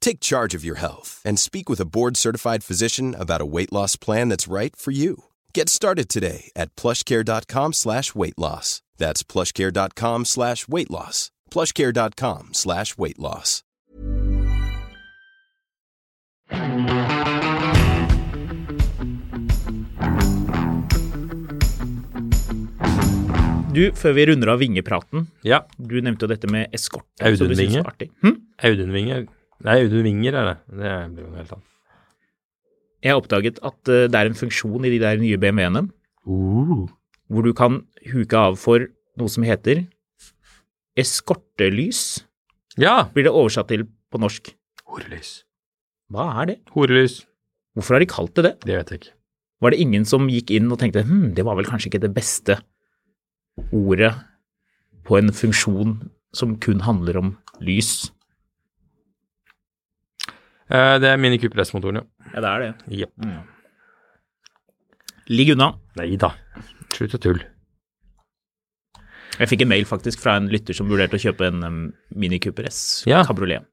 Speaker 4: Take charge of your health and speak with a board-certified physician about a weight loss plan that's right for you. Get started today at plushcare.com slash weight loss. That's plushcare.com slash weight loss. plushcare.com slash weight loss.
Speaker 2: Du, før vi runder av vingepraten,
Speaker 1: Ja.
Speaker 2: du nevnte jo dette med eskorte.
Speaker 1: Audun
Speaker 2: som du synes
Speaker 1: Vinge?
Speaker 2: var artig. Hm?
Speaker 1: Audun Winger Nei, Audun Winger er det. Det blir jo noe helt annet.
Speaker 2: Jeg har oppdaget at eh, det er en funksjon i de der nye BMW-ene
Speaker 1: Uh.
Speaker 2: hvor du kan huke av for noe som heter eskortelys,
Speaker 1: Ja!
Speaker 2: blir det oversatt til på norsk.
Speaker 1: Horelys.
Speaker 2: Hva er det?
Speaker 1: Horelys.
Speaker 2: Hvorfor har de kalt det det?
Speaker 1: Det vet jeg ikke.
Speaker 2: Var det ingen som gikk inn og tenkte hm, det var vel kanskje ikke det beste ordet på en funksjon som kun handler om lys?
Speaker 1: Eh, det er Mini Cooper S-motoren, ja.
Speaker 2: Ja, det er det.
Speaker 1: Jepp.
Speaker 2: Ligg unna.
Speaker 1: Nei da. Slutt å tulle.
Speaker 2: Jeg fikk en mail faktisk fra en lytter som vurderte å kjøpe en um, Mini Cooper S
Speaker 1: Ja.
Speaker 2: kabriolet.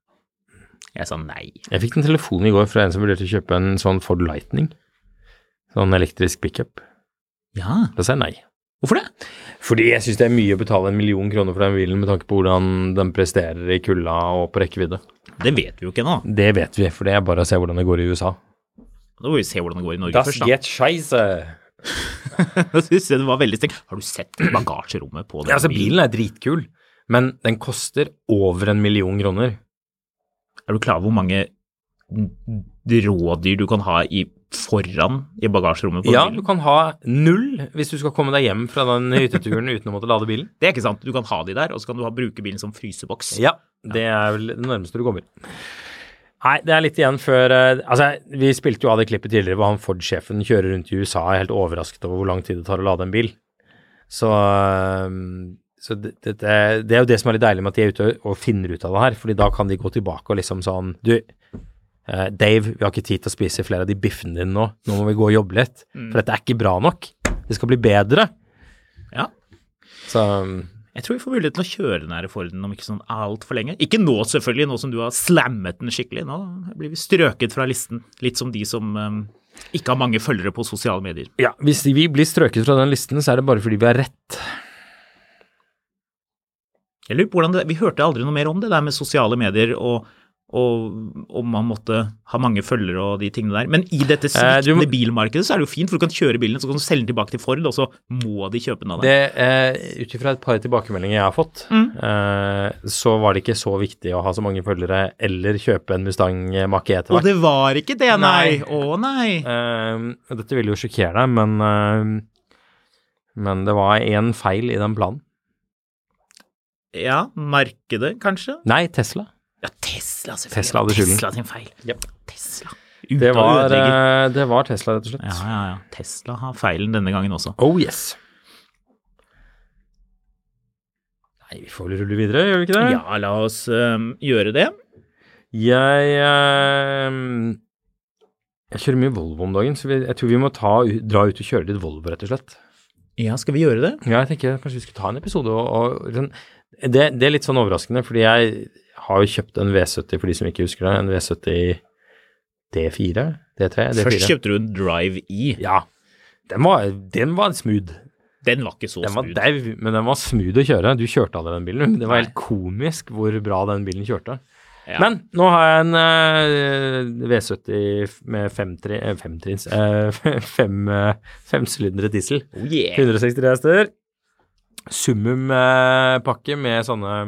Speaker 2: Jeg sa nei.
Speaker 1: Jeg fikk en telefon i går fra en som vurderte å kjøpe en sånn Ford Lightning. Sånn elektrisk pickup.
Speaker 2: Ja,
Speaker 1: Da sier jeg nei.
Speaker 2: hvorfor det?
Speaker 1: Fordi jeg syns det er mye å betale en million kroner for den bilen med tanke på hvordan den presterer i kulda og på rekkevidde.
Speaker 2: Det vet vi jo ikke ennå.
Speaker 1: Det vet vi, for det er bare å se hvordan det går i USA.
Speaker 2: Da må vi se hvordan det går i Norge
Speaker 1: Das
Speaker 2: først, da.
Speaker 1: geht scheisse.
Speaker 2: Jeg synes det var veldig stengt. Har du sett bagasjerommet på den
Speaker 1: Ja, altså, bilen er dritkul, men den koster over en million kroner.
Speaker 2: Er du klar over hvor mange rådyr du kan ha i, foran i bagasjerommet på
Speaker 1: Ja,
Speaker 2: bilen?
Speaker 1: du kan ha null hvis du skal komme deg hjem fra den hytteturen uten å måtte lade bilen.
Speaker 2: Det er ikke sant. Du kan ha de der, og så kan du ha, bruke bilen som fryseboks.
Speaker 1: Ja, det er vel det nærmeste du kommer. Nei, det er litt igjen før eh, Altså, vi spilte jo av det klippet tidligere hvor han Ford-sjefen kjører rundt i USA og er helt overrasket over hvor lang tid det tar å lade en bil. Så, eh, så det, det, det det er jo det som er litt deilig med at de er ute og finner ut av det her, fordi da kan de gå tilbake og liksom sånn Du, eh, Dave, vi har ikke tid til å spise flere av de biffene dine nå. Nå må vi gå og jobbe litt. For dette er ikke bra nok. Det skal bli bedre.
Speaker 2: Ja.
Speaker 1: Så ehm,
Speaker 2: Jeg tror vi får mulighet til å kjøre den her Forden om ikke sånn altfor lenge. Ikke nå selvfølgelig, nå som du har slammet den skikkelig. Nå blir vi strøket fra listen. Litt som de som eh, ikke har mange følgere på sosiale medier.
Speaker 1: ja, hvis vi blir strøket fra den listen, så er det bare fordi vi har rett.
Speaker 2: Jeg lurer på hvordan det, Vi hørte aldri noe mer om det der med sosiale medier og og om man måtte ha mange følgere og de tingene der. Men i dette
Speaker 1: Eh, du
Speaker 2: sviktende
Speaker 1: må-
Speaker 2: bilmarkedet så er det jo fint, for du kan kjøre bilen, så kan du selge den tilbake til Ford, og så må de kjøpe den av deg.
Speaker 1: Det, eh, Ut ifra et par tilbakemeldinger jeg har fått,
Speaker 2: Mm.
Speaker 1: eh, så var det ikke så viktig å ha så mange følgere eller kjøpe en Mustang Mach-E etter
Speaker 2: og
Speaker 1: hvert.
Speaker 2: det var ikke det, nei!
Speaker 1: Nei.
Speaker 2: Å nei!
Speaker 1: Eh, dette ville jo sjokkere deg, men, eh, men det var én feil i den planen. Eh.
Speaker 2: Ja, markedet, kanskje?
Speaker 1: Nei, Tesla.
Speaker 2: Ja, Tesla, selvfølgelig.
Speaker 1: Tesla hadde skylden.
Speaker 2: Tesla sin feil. Tesla. Ut
Speaker 1: Det
Speaker 2: av
Speaker 1: var,
Speaker 2: ødelegger.
Speaker 1: eh, det var Tesla, rett og slett.
Speaker 2: Ja, ja, ja. Tesla har feilen denne gangen også.
Speaker 1: Oh yes. Nei, vi får vel rulle videre, gjør vi ikke det?
Speaker 2: Ja, la oss øhm, gjøre det.
Speaker 1: Jeg eh, Jeg kjører mye Volvo om dagen, så vi, jeg tror vi må ta, dra ut og kjøre litt Volvo, rett og slett.
Speaker 2: Ja, skal vi gjøre det?
Speaker 1: Ja, jeg tenker kanskje vi skulle ta en episode og, og sånn- det, det er litt sånn overraskende, fordi jeg har jo kjøpt en V70, for de som ikke husker det, en V70 D4, D3, D4.
Speaker 2: Først kjøpte du en Drive E.
Speaker 1: Ja. Den var, den var smooth.
Speaker 2: Den var ikke så
Speaker 1: Den var
Speaker 2: smooth.
Speaker 1: dau, men den var smooth å kjøre. Du kjørte aldri den bilen. Det var helt komisk hvor bra den bilen kjørte.
Speaker 2: Ja.
Speaker 1: Men nå har jeg en eh, V70 med femtri- eh, femtrins eh, fem, eh, femsylindere diesel.
Speaker 2: Oh, yeah.
Speaker 1: 163 hester. Summum eh, pakke med sånne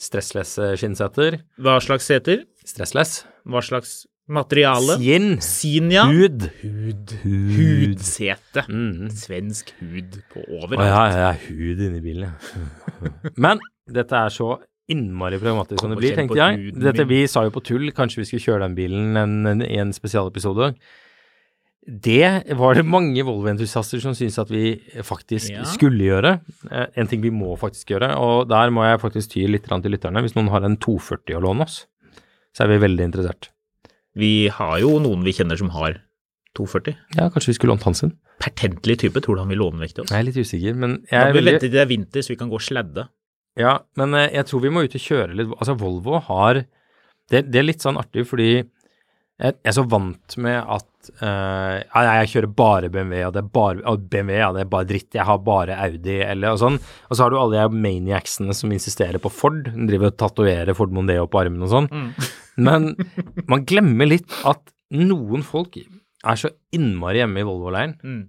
Speaker 1: stressless eh, skinnseter.
Speaker 2: Hva slags seter?
Speaker 1: Stressless.
Speaker 2: Hva slags materiale?
Speaker 1: Skinn.
Speaker 2: Sinja.
Speaker 1: Hud.
Speaker 2: Hud.
Speaker 1: Hud.
Speaker 2: Hudsete.
Speaker 1: Mm.
Speaker 2: Svensk hud på
Speaker 1: Å
Speaker 2: overalt.
Speaker 1: ja, det er hud inni bilen, ja. Men dette er så innmari pragmatisk som det
Speaker 2: Kom og
Speaker 1: blir,
Speaker 2: kjenn på
Speaker 1: tenkte jeg.
Speaker 2: huden
Speaker 1: Dette
Speaker 2: min.
Speaker 1: vi sa jo på tull, kanskje vi skulle kjøre den bilen en, en, i en spesialepisode. Det var det mange Volvo-entusiaster som syntes at vi faktisk
Speaker 2: Ja.
Speaker 1: skulle gjøre. Eh, En ting vi må faktisk gjøre, og der må jeg faktisk ty litt grann til lytterne. Hvis noen har en 240 å låne oss, så er vi veldig interessert.
Speaker 2: Vi har jo noen vi kjenner som har 240.
Speaker 1: Ja, kanskje vi skulle lånt hans sin?
Speaker 2: Pertentlig type, tror du han vil låne vekk til oss?
Speaker 1: Jeg er litt usikker, men jeg
Speaker 2: Da
Speaker 1: er
Speaker 2: bør vi
Speaker 1: veldig-
Speaker 2: vente til det er vinter, så vi kan gå og sladde.
Speaker 1: Ja, men eh, jeg tror vi må ut og kjøre litt. Altså, Volvo har Det, det er litt sånn artig, fordi jeg er så vant med at eh, ja, jeg kjører bare BMW, og det er bare og BMW, ja, det er bare dritt, jeg har bare Audi, eller og sånn. Og så har du alle de her maniacsene som insisterer på Ford, de driver og tatoverer Ford Mondeo på armen og sånn.
Speaker 2: Mm.
Speaker 1: Men man glemmer litt at noen folk er så innmari hjemme i Volvo-leiren.
Speaker 2: Mm.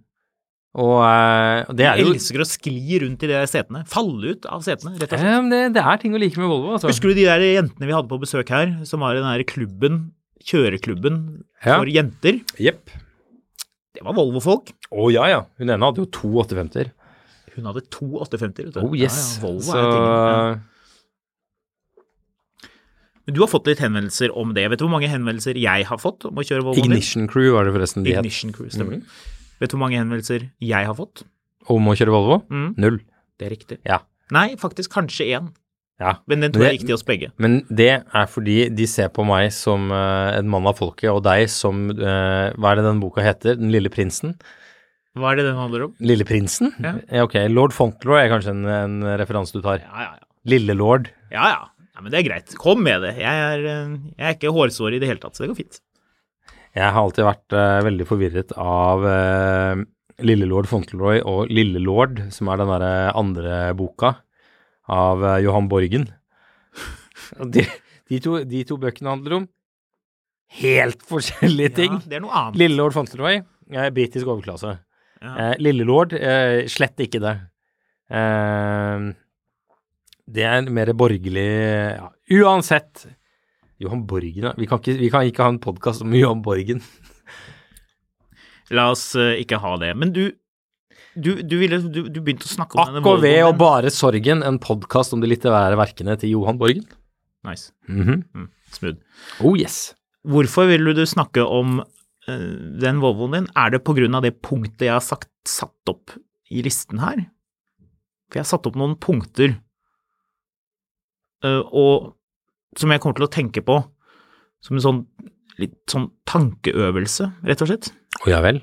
Speaker 1: Og, eh, og det er jo
Speaker 2: Elsker å skli rundt i de setene. Falle ut av setene, rett og slett.
Speaker 1: Ja, men det, det er ting å like med Volvo, altså.
Speaker 2: Husker du de der jentene vi hadde på besøk her, som var i den her klubben, kjøreklubben
Speaker 1: Ja.
Speaker 2: for jenter?
Speaker 1: Jepp.
Speaker 2: Det var Volvo-folk.
Speaker 1: Å ja, ja. Hun ene hadde jo to 850-er.
Speaker 2: Hun hadde to 850. vet du.
Speaker 1: Oh yes.
Speaker 2: Ja, ja, Volvo
Speaker 1: så
Speaker 2: er tingen. Ja. Men du har fått litt henvendelser om det. Vet du hvor mange henvendelser jeg har fått om å kjøre Volvo?
Speaker 1: Ignition Crew var det forresten de het.
Speaker 2: Ignition Crew, stemmer.
Speaker 1: Mhm.
Speaker 2: Vet du hvor mange henvendelser jeg har fått?
Speaker 1: Om å kjøre Volvo?
Speaker 2: Mm.
Speaker 1: Null.
Speaker 2: Det er riktig.
Speaker 1: Ja.
Speaker 2: Nei, faktisk kanskje én.
Speaker 1: ja.
Speaker 2: Men den tror jeg
Speaker 1: Det-
Speaker 2: gikk til oss begge.
Speaker 1: Men det er fordi de ser på meg som eh, en mann av folket, og deg som eh, Hva er det den boka heter? Den lille prinsen?
Speaker 2: Hva er det den handler om?
Speaker 1: Lille prinsen?
Speaker 2: Ja.
Speaker 1: ok. Lord Fauntleroy er kanskje en, en referanse du tar.
Speaker 2: Ja, ja, ja.
Speaker 1: Lille lord.
Speaker 2: Ja, ja. ja men det er greit. Kom med det. Jeg er, eh, jeg er ikke hårsår i det hele tatt, så det går fint.
Speaker 1: Jeg har alltid vært eh, veldig forvirret av eh, Lillelord Fauntleroy og Lillelord, som er den derre andre boka av eh, Johan Borgen. Og De, de, to, de to bøkene handler om helt forskjellige ting.
Speaker 2: Ja, det er noe annet.
Speaker 1: Lillelord Fauntleroy, eh, britisk overklasse.
Speaker 2: Ja.
Speaker 1: Eh, Lillelord, eh, slett ikke det. Eh, det er mer borgerlig ja. Uansett. Johan Borgen, ja. Vi kan ikke, vi kan ikke ha en podkast om Johan Borgen.
Speaker 2: La oss eh, ikke ha det. Men du, du, du, ville, du, du begynte å snakke om denne
Speaker 1: AKV og
Speaker 2: Volvoen.
Speaker 1: Bare sorgen, en podkast om de litterære verkene til Johan Borgen.
Speaker 2: Nice.
Speaker 1: Mhm.
Speaker 2: Mm, smooth.
Speaker 1: Oh yes.
Speaker 2: Hvorfor ville du snakke om eh, den Volvoen din? Er det på grunn av det punktet jeg har sagt, satt opp i listen her? For jeg har satt opp noen punkter eh, og, som jeg kommer til å tenke på som en sånn litt sånn tankeøvelse, rett og slett.
Speaker 1: Å ja vel.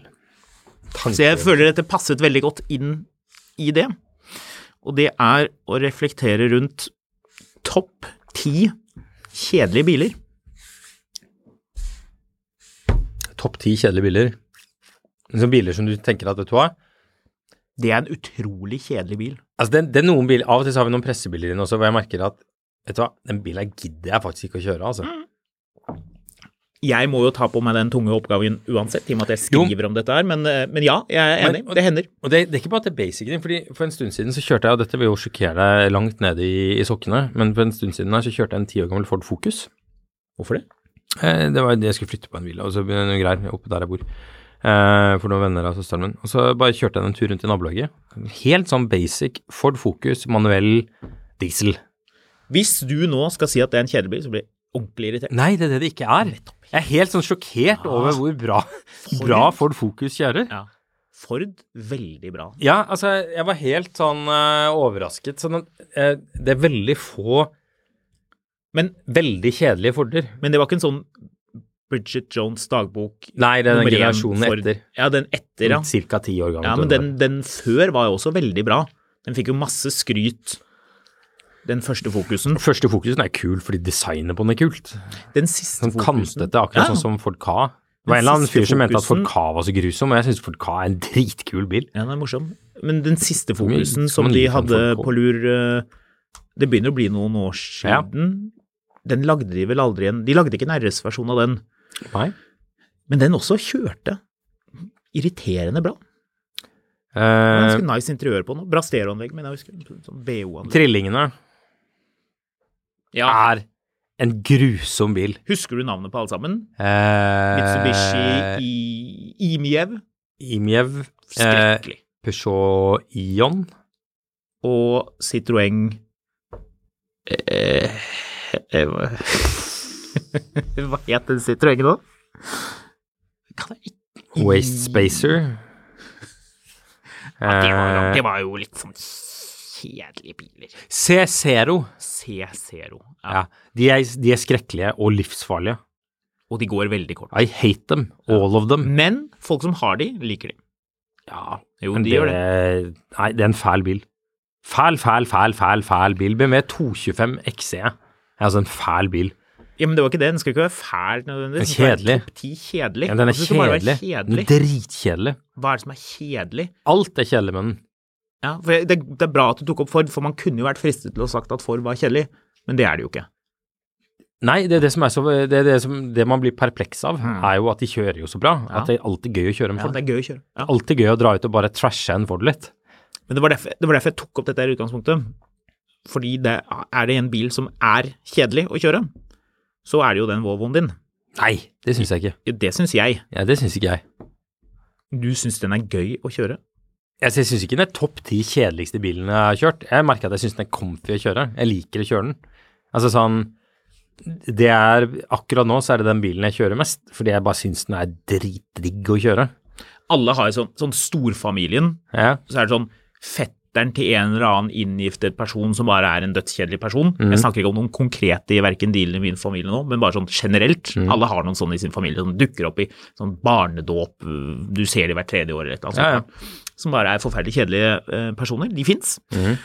Speaker 2: Så jeg føler dette passet veldig godt inn i det. Og det er å reflektere rundt topp ti kjedelige biler.
Speaker 1: Topp ti kjedelige biler. Sånne biler som du tenker at vet du hva
Speaker 2: Det er en utrolig kjedelig bil.
Speaker 1: Altså, det, det er noen biler, Av og til så har vi noen pressebiler inne også, hvor jeg merker at vet du hva, den bilen her gidder jeg faktisk ikke å kjøre. altså.
Speaker 2: Mm. Jeg må jo ta på meg den tunge oppgaven uansett, i og med at jeg
Speaker 1: Jo.
Speaker 2: skriver om dette her, men, eh, men ja, jeg er
Speaker 1: Men-
Speaker 2: enig. Det hender.
Speaker 1: Og det, det er ikke bare at det er basic thing, fordi for en stund siden så kjørte jeg, og dette vil jo sjokkere deg langt nede i, i sokkene, men for en stund siden her så kjørte jeg en ti år gammel Ford Focus.
Speaker 2: Hvorfor det?
Speaker 1: Eh, det var jo det jeg skulle flytte på en villa, og så begynte noen greier oppe der jeg bor. Eh, for noen venner av søsteren min. Og så bare kjørte jeg en tur rundt i nabolaget. Helt sånn basic Ford Focus, manuell diesel.
Speaker 2: Hvis du nå skal si at det er en kjedelig bil, så blir jeg ordentlig irritert.
Speaker 1: Nei, det er det det ikke er. Jeg er helt sånn sjokkert over hvor bra, bra Ford Focus kjører.
Speaker 2: Ah, Ja. Ford, veldig bra.
Speaker 1: Ja, altså, jeg var helt sånn eh, overrasket. Sånn at, eh, det er veldig få
Speaker 2: Men,
Speaker 1: veldig kjedelige Forder.
Speaker 2: men det var ikke en sånn Bridget Jones dagbok
Speaker 1: Nei, det er den
Speaker 2: nummer én
Speaker 1: generasjonen
Speaker 2: Ford.
Speaker 1: etter.
Speaker 2: Ja, den etter, ja.
Speaker 1: Cirka ti år gammel.
Speaker 2: Ja, men den, den før var jo også veldig bra. Den fikk jo masse skryt, den første fokusen.
Speaker 1: Første fokusen er kul fordi designet på den er kult.
Speaker 2: Den siste
Speaker 1: Sånn
Speaker 2: fokusen
Speaker 1: kantete, akkurat
Speaker 2: Ja.
Speaker 1: sånn som Ford Ka. Det var en
Speaker 2: Den
Speaker 1: eller annen
Speaker 2: siste
Speaker 1: fyr som mente at Ford
Speaker 2: fokusen-
Speaker 1: Ka var så grusom, og jeg syns Ford Ka er en dritkul bil.
Speaker 2: Ja, den er morsom. Men den siste
Speaker 1: Mye-
Speaker 2: fokusen
Speaker 1: man
Speaker 2: som de
Speaker 1: liker den
Speaker 2: hadde
Speaker 1: folk også.
Speaker 2: på lur eh, Det begynner å bli noen år siden. Den lagde de vel aldri en De lagde ikke en RS-versjon av den,
Speaker 1: Nei.
Speaker 2: men den også kjørte irriterende bra.
Speaker 1: Eh,
Speaker 2: Ganske nice interiør på den. og Bra stereoanlegg, men jeg husker sånn BO-anlegg.
Speaker 1: trillingene er en grusom bil.
Speaker 2: Husker du navnet på alle sammen?
Speaker 1: Eh,
Speaker 2: Mitsubishi i Imiev.
Speaker 1: Imjev. Eh,
Speaker 2: Skrekkelig.
Speaker 1: Peugeot Ion.
Speaker 2: og Citroën eh, eh, Hva het den Citroën nå? Kan jeg ikke
Speaker 1: Waste Spacer.
Speaker 2: det var,
Speaker 1: Eh,
Speaker 2: det var jo litt sånn kjedelige biler.
Speaker 1: C0.
Speaker 2: C0. Ja.
Speaker 1: Ja. De, er, de er skrekkelige og livsfarlige.
Speaker 2: Og de går veldig kort.
Speaker 1: I hate them, all of them.
Speaker 2: Men folk som har de, liker de.
Speaker 1: Ja,
Speaker 2: Jo,
Speaker 1: men
Speaker 2: de gjør det.
Speaker 1: Nei, det er en fæl bil. Fæl, fæl, fæl, fæl, fæl bil. BMW 225 XE. Det er altså en fæl bil.
Speaker 2: Ja, Men det var ikke det. Den skal ikke være fæl nødvendigvis.
Speaker 1: Den er kjedelig.
Speaker 2: Den skal være topp 10 kjedelig.
Speaker 1: Ja, den er
Speaker 2: Altså, det skal bare være
Speaker 1: kjedelig. Den er
Speaker 2: kjedelig.
Speaker 1: dritkjedelig.
Speaker 2: Hva er det som er kjedelig?
Speaker 1: Alt er kjedelig med den.
Speaker 2: Ja, for jeg- det, det er bra at du tok opp Ford, for man kunne jo vært fristet til å sagt at Ford var kjedelig, men det er det jo ikke.
Speaker 1: Nei, det er det som er så Det, er det, som, det man blir perpleks av, er jo at de kjører jo så bra.
Speaker 2: Hmm. Ja.
Speaker 1: At det er alltid gøy å kjøre en
Speaker 2: Ja,
Speaker 1: Ford.
Speaker 2: det er gøy å kjøre. Ja.
Speaker 1: alltid gøy å dra ut og bare trashe en Ford litt.
Speaker 2: Men det var, derfor, det var derfor jeg tok opp dette her i utgangspunktet. Fordi det, er det en bil som er kjedelig å kjøre, så er det jo den Volvoen din.
Speaker 1: Nei, det syns jeg ikke.
Speaker 2: Det syns jeg.
Speaker 1: Ja, det syns ikke jeg.
Speaker 2: Du syns den er gøy å kjøre.
Speaker 1: Jeg sy- syns ikke den er topp ti kjedeligste bilen jeg har kjørt. Jeg merker at jeg syns den er comfy å kjøre. Jeg liker å kjøre den. Altså sånn det er, Akkurat nå så er det den bilen jeg kjører mest, fordi jeg bare syns den er dritdigg å kjøre.
Speaker 2: Alle har jo sånn, sånn storfamilien,
Speaker 1: Ja.
Speaker 2: så er det sånn fetteren til en eller annen inngiftet person som bare er en dødskjedelig person.
Speaker 1: Mhm.
Speaker 2: Jeg snakker ikke om noen konkrete i verken dealen i min familie nå, men bare sånn generelt.
Speaker 1: Mhm.
Speaker 2: Alle har noen sånne i sin familie som dukker opp i sånn barnedåp, øh, du ser de hvert tredje år eller et
Speaker 1: Ja,
Speaker 2: eller
Speaker 1: ja.
Speaker 2: annet. sånt, Som bare er forferdelig kjedelige eh, personer. De fins.
Speaker 1: Mhm.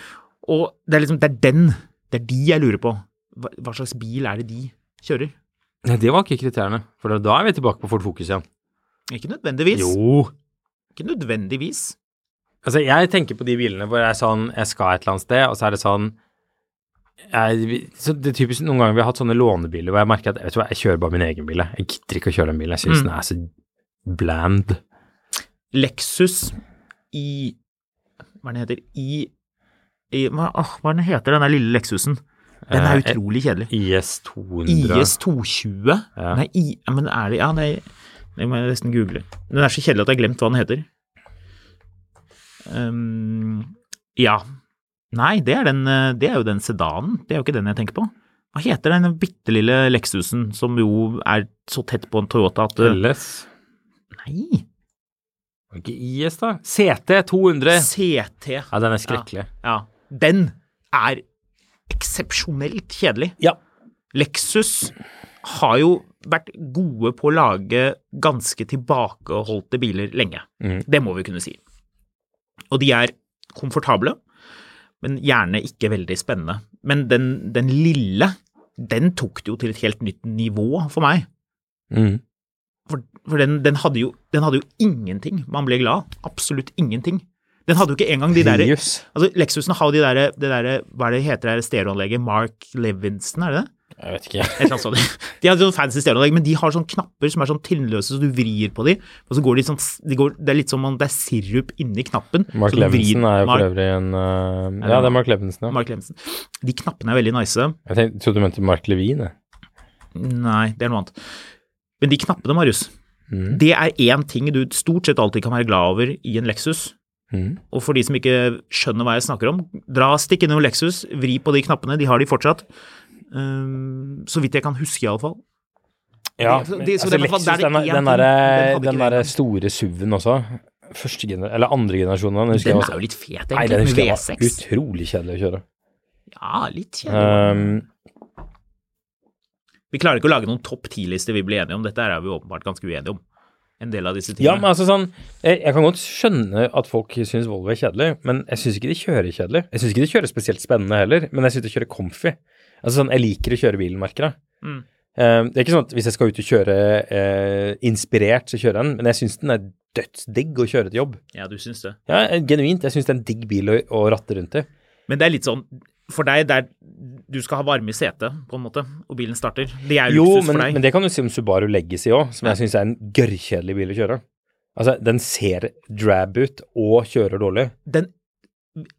Speaker 2: Og det er liksom, det er den, det er de jeg lurer på. Hva, hva slags bil er det de kjører?
Speaker 1: Nei, det var ikke kriteriene, for da er vi tilbake på Ford Fokus igjen.
Speaker 2: Ikke nødvendigvis.
Speaker 1: Jo.
Speaker 2: Ikke nødvendigvis.
Speaker 1: Altså, jeg tenker på de bilene hvor jeg er sånn, jeg skal et eller annet sted, og så er det sånn jeg, så det er typisk Noen ganger vi har hatt sånne lånebiler hvor jeg merker at vet du hva, jeg kjører bare min egen bil. jeg. Jeg gidder ikke å kjøre den bilen. Jeg syns
Speaker 2: Mm.
Speaker 1: den er så bland.
Speaker 2: Lexus i Hva er den heter? I, i hva, åh, hva er den heter den der lille Lexusen? Den er
Speaker 1: Eh,
Speaker 2: utrolig kjedelig.
Speaker 1: IS 200.
Speaker 2: IS 220?
Speaker 1: Ja.
Speaker 2: Nei, I, ja, men er det Ja, nei, det må jeg nesten google. Den er så kjedelig at jeg har glemt hva den heter. Ehm, ja. Nei, det er, den, eh, det er jo den sedanen. Det er jo ikke den jeg tenker på. Hva heter den bitte lille Lexusen som jo er så tett på en Toyota at eh,
Speaker 1: LS.
Speaker 2: Nei!
Speaker 1: Var det Ikke IS, da. CT 200.
Speaker 2: CT.
Speaker 1: Ja, den er skrekkelig.
Speaker 2: Ja. Den er eksepsjonelt kjedelig.
Speaker 1: Ja.
Speaker 2: Lexus har jo vært gode på å lage ganske tilbakeholdte biler lenge.
Speaker 1: Mhm.
Speaker 2: Det må vi kunne si. Og de er komfortable, men gjerne ikke veldig spennende. Men den, den lille, den tok det jo til et helt nytt nivå for meg.
Speaker 1: Mm.
Speaker 2: For, for den, den, hadde jo, den hadde jo ingenting man ble glad av. Absolutt ingenting. Den hadde jo ikke engang de der
Speaker 1: Prius.
Speaker 2: Altså, Lexusen har jo de der, det der, hva er det heter det der stereoanlegget, Mark Levinson, er det det?
Speaker 1: Jeg vet ikke.
Speaker 2: Et eller annet sånt. De har sånn fancy stereoanlegg, men de har sånne knapper som er sånn tynnløse, så du vrir på de, og så går de sånn, de går, det er litt som om det er sirup inni knappen.
Speaker 1: Mark
Speaker 2: så du vrir-
Speaker 1: Levinson er jo
Speaker 2: Mark-
Speaker 1: for øvrig en eh, Ja, det er Mark Levinson, ja.
Speaker 2: Mark Levinson. De knappene er veldig nice.
Speaker 1: Jeg tenkte, trodde du mente Mark Levin, jeg.
Speaker 2: Nei, det er noe annet. Men de knappene, Marius,
Speaker 1: Mm.
Speaker 2: det er én ting du stort sett alltid kan være glad over i en Lexus.
Speaker 1: Mhm.
Speaker 2: Og for de som ikke skjønner hva jeg snakker om, dra stikk innom Lexus, vri på de knappene, de har de fortsatt. Ehm, så vidt jeg kan huske, iallfall.
Speaker 1: Ja,
Speaker 2: Det- så-
Speaker 1: men,
Speaker 2: det- så
Speaker 1: altså,
Speaker 2: det er i hvert
Speaker 1: Lexus,
Speaker 2: fall- der er
Speaker 1: den,
Speaker 2: én
Speaker 1: den
Speaker 2: ting,
Speaker 1: derre
Speaker 2: den hadde
Speaker 1: den
Speaker 2: ikke
Speaker 1: derre
Speaker 2: vi.
Speaker 1: store SUV-en også. Første gener eller andre generasjon av den. husker
Speaker 2: Den
Speaker 1: jeg
Speaker 2: er
Speaker 1: også.
Speaker 2: jo litt fet,
Speaker 1: Nei, den
Speaker 2: egentlig, med
Speaker 1: husker jeg var
Speaker 2: V6.
Speaker 1: utrolig kjedelig å kjøre.
Speaker 2: Ja, litt kjedelig.
Speaker 1: Ehm,
Speaker 2: Vi klarer ikke å lage noen topp ti-lister vi blir enige om, dette her er vi åpenbart ganske uenige om. En del av disse
Speaker 1: ja,
Speaker 2: tingene.
Speaker 1: men altså sånn Jeg, jeg kan godt skjønne at folk syns Volvo er kjedelig, men jeg syns ikke de kjører kjedelig. Jeg syns ikke de kjører spesielt spennende heller, men jeg syns de kjører comfy. Altså sånn, Jeg liker å kjøre bilen, merker jeg.
Speaker 2: Mm.
Speaker 1: Ehm, det er ikke sånn at hvis jeg skal ut og kjøre eh, inspirert, så kjører jeg den, men jeg syns den er dødsdigg å kjøre til jobb.
Speaker 2: ja, du syns det.
Speaker 1: Ja, eh, genuint. Jeg syns det er en digg bil å, å ratte rundt i.
Speaker 2: Men det er litt sånn for deg der du skal ha varme i setet, på en måte, og bilen starter. Det er
Speaker 1: Jo,
Speaker 2: luksus
Speaker 1: men,
Speaker 2: for deg.
Speaker 1: men det kan du si om Subaru Legacy òg, som jeg syns er en gørrkjedelig bil å kjøre. Altså, den ser drab ut og kjører dårlig.
Speaker 2: Den,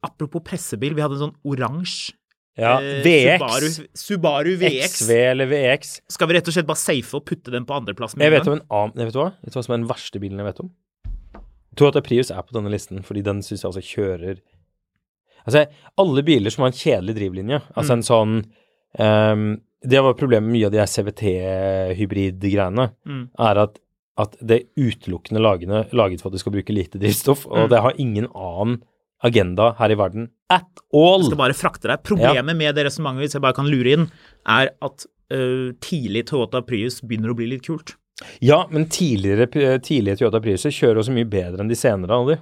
Speaker 2: apropos pressebil, vi hadde en sånn oransje
Speaker 1: Ja,
Speaker 2: eh,
Speaker 1: VX,
Speaker 2: Subaru, Subaru VX.
Speaker 1: XV eller VX.
Speaker 2: Skal vi rett og slett bare safe og putte den på andreplass? med
Speaker 1: Jeg vet
Speaker 2: en
Speaker 1: om
Speaker 2: gang?
Speaker 1: en annen jeg Vet du hva Vet du hva som er den verste bilen jeg vet om? Toyota Prius er på denne listen, fordi den syns jeg altså kjører Altså, alle biler som har en kjedelig drivlinje, altså
Speaker 2: Mm.
Speaker 1: en sånn ehm, Det var problemet med mye av de her CVT-hybrid-greiene,
Speaker 2: Mm.
Speaker 1: er at, at det er utelukkende lagene, laget for at du skal bruke lite drivstoff,
Speaker 2: Mm.
Speaker 1: og det har ingen annen agenda her i verden at all.
Speaker 2: skal bare frakte deg. Problemet med det resonnementet, hvis jeg bare kan lure inn, er at øh, tidlig Toyota Prius begynner å bli litt kult.
Speaker 1: Ja, men tidligere, tidligere Toyota Priuser kjører også mye bedre enn de senere. Aldri.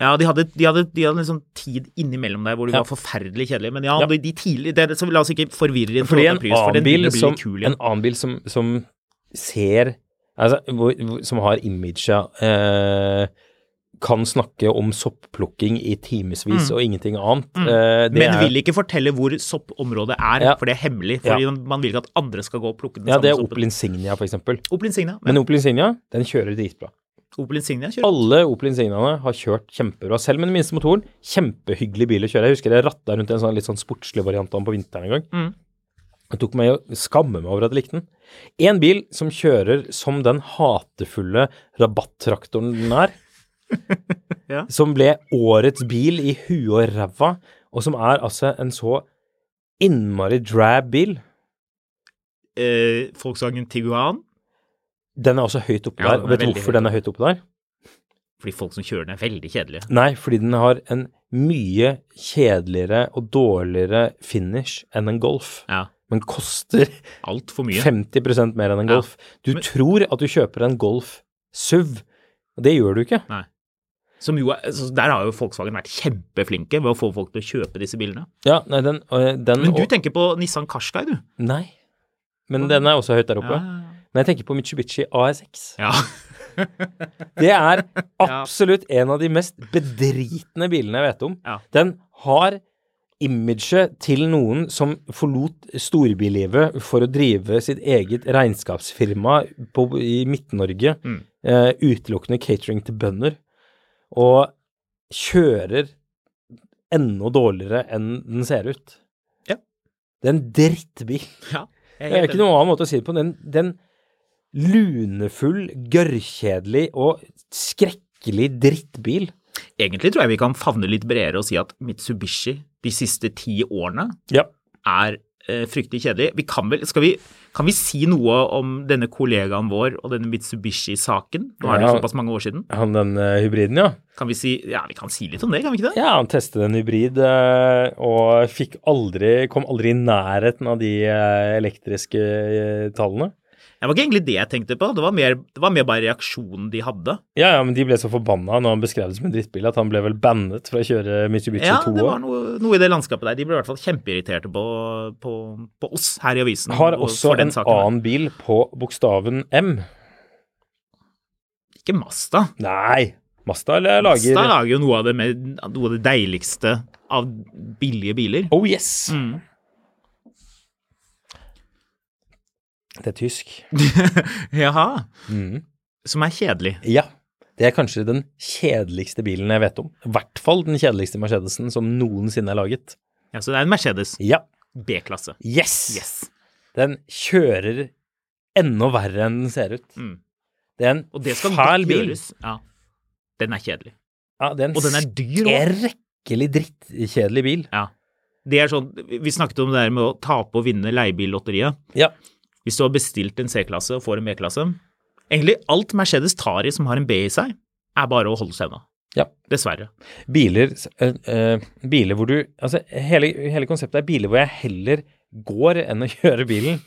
Speaker 2: Ja, de hadde, de hadde, de hadde liksom tid innimellom der hvor de
Speaker 1: Ja.
Speaker 2: var forferdelig kjedelige, men ja,
Speaker 1: Ja.
Speaker 2: De, de tidlig, det, så la oss ikke forvirre en
Speaker 1: Fordi
Speaker 2: Toyota
Speaker 1: en
Speaker 2: Prius, for
Speaker 1: annen
Speaker 2: den
Speaker 1: bil
Speaker 2: begynner å bli
Speaker 1: som,
Speaker 2: litt kul
Speaker 1: en
Speaker 2: igjen.
Speaker 1: annen bil som, som ser altså, hvor, hvor, Som har imaget eh, Kan snakke om soppplukking i timevis
Speaker 2: Mm.
Speaker 1: og ingenting annet. eh, det
Speaker 2: Men
Speaker 1: er-
Speaker 2: vil ikke fortelle hvor soppområdet er,
Speaker 1: Ja.
Speaker 2: for det er hemmelig.
Speaker 1: Ja.
Speaker 2: Fordi man vil ikke at andre skal gå og plukke den
Speaker 1: Ja, det
Speaker 2: samme
Speaker 1: er Opel Insignia, for eksempel.
Speaker 2: Opel Insignia.
Speaker 1: Men
Speaker 2: Men
Speaker 1: Opel Insignia, den kjører dritbra.
Speaker 2: Opel Insignia kjører.
Speaker 1: Alle Opel Insigniaene har kjørt kjempebra, selv med den minste motoren. Kjempehyggelig bil å kjøre. Jeg husker jeg ratta rundt en sånn litt sånn sportslig variant av den på vinteren en gang.
Speaker 2: Mm.
Speaker 1: Jeg tok meg å skamme meg over at jeg likte den. En bil som kjører som den hatefulle rabattraktoren den er,
Speaker 2: Ja.
Speaker 1: som ble årets bil i huet og ræva, og som er altså en så innmari drab bil.
Speaker 2: Eh, Volkswagen Tiguan.
Speaker 1: Den er også høyt oppe
Speaker 2: Ja,
Speaker 1: der.
Speaker 2: den
Speaker 1: Og
Speaker 2: er
Speaker 1: vet du
Speaker 2: veldig
Speaker 1: hvorfor
Speaker 2: høyt
Speaker 1: den er høyt oppe der?
Speaker 2: Fordi folk som kjører den, er veldig kjedelige.
Speaker 1: Nei, fordi den har en mye kjedeligere og dårligere finish enn en Golf.
Speaker 2: Ja.
Speaker 1: Men koster
Speaker 2: Altfor mye.
Speaker 1: 50 mer enn en
Speaker 2: Ja.
Speaker 1: Golf. Du tror at du kjøper en Golf SUV, og det gjør du ikke.
Speaker 2: Som jo er, så der har jo Volkswagen vært kjempeflinke ved å få folk til å kjøpe disse bilene.
Speaker 1: Ja, nei, den, øh, den
Speaker 2: Men du
Speaker 1: og-
Speaker 2: tenker Ah. på Nissan Qashqai, du.
Speaker 1: Nei. men den er også høyt der oppe.
Speaker 2: Ja.
Speaker 1: Men jeg tenker på Mitsubishi ASX.
Speaker 2: Ja.
Speaker 1: Det er absolutt en av de mest bedritne bilene jeg vet om.
Speaker 2: Ja.
Speaker 1: Den har imaget til noen som forlot storbylivet for å drive sitt eget regnskapsfirma på, i Midt-Norge,
Speaker 2: Mm.
Speaker 1: eh, utelukkende catering til bønder, og kjører enda dårligere enn den ser ut.
Speaker 2: Ja.
Speaker 1: Det er en drittbil.
Speaker 2: ja. Jeg
Speaker 1: Det er
Speaker 2: helt
Speaker 1: ikke
Speaker 2: enig.
Speaker 1: noen annen måte å si det på. Den, den lunefull, gørrkjedelig og skrekkelig drittbil.
Speaker 2: Egentlig tror jeg vi kan favne litt bredere og si at Mitsubishi de siste ti årene
Speaker 1: Ja.
Speaker 2: er eh, fryktelig kjedelig. Vi kan vel skal vi, kan vi si noe om denne kollegaen vår og denne Mitsubishi-saken? Nå er det jo
Speaker 1: Ja.
Speaker 2: såpass mange år siden.
Speaker 1: Han den eh, hybriden, ja.
Speaker 2: Kan vi si Ja, vi kan si litt om det, kan vi ikke det?
Speaker 1: Ja, han testet en hybrid eh, og fikk aldri, kom aldri i nærheten av de eh, elektriske eh, tallene.
Speaker 2: Det var ikke egentlig det jeg tenkte på. Det var mer, det var mer bare reaksjonen de hadde.
Speaker 1: Ja, ja, men de ble så forbanna når han beskrev det som en drittbil at han ble vel bannet fra å kjøre Mitsubishi
Speaker 2: Ja,
Speaker 1: 2.
Speaker 2: det var noe, noe i det landskapet der. De ble i hvert fall kjempeirriterte på, på, på oss her i avisen.
Speaker 1: Har
Speaker 2: og
Speaker 1: også
Speaker 2: for den
Speaker 1: en
Speaker 2: saken der.
Speaker 1: annen bil på bokstaven M.
Speaker 2: Ikke Masta.
Speaker 1: Nei, Mazda lager
Speaker 2: Masta lager jo noe av det, med, noe av det deiligste av billige biler.
Speaker 1: Oh yes!
Speaker 2: Mm.
Speaker 1: Det er tysk.
Speaker 2: Jaha.
Speaker 1: Mm.
Speaker 2: Som er kjedelig.
Speaker 1: Ja. Det er kanskje den kjedeligste bilen jeg vet om. I hvert fall den kjedeligste Mercedesen som noensinne er laget.
Speaker 2: Ja, så det er en Mercedes
Speaker 1: Ja.
Speaker 2: B-klasse.
Speaker 1: Yes!
Speaker 2: Yes.
Speaker 1: Den kjører enda verre enn den ser ut.
Speaker 2: Mm.
Speaker 1: Det er en
Speaker 2: Og det skal
Speaker 1: fæl
Speaker 2: godt
Speaker 1: bil.
Speaker 2: gjøres. Ja. Den er kjedelig.
Speaker 1: Ja, det er en
Speaker 2: Og den er dyr òg.
Speaker 1: skrekkelig drittkjedelig bil.
Speaker 2: Ja. Det er sånn, vi snakket om det der med å tape og vinne leiebillotteriet.
Speaker 1: Ja.
Speaker 2: Hvis du har bestilt en C-klasse og får en B-klasse Egentlig alt Mercedes tar i som har en B i seg, er bare å holde seg unna.
Speaker 1: Ja.
Speaker 2: Dessverre.
Speaker 1: Biler, eh, eh, biler hvor du Altså, hele, hele konseptet er biler hvor jeg heller går enn å kjøre bilen.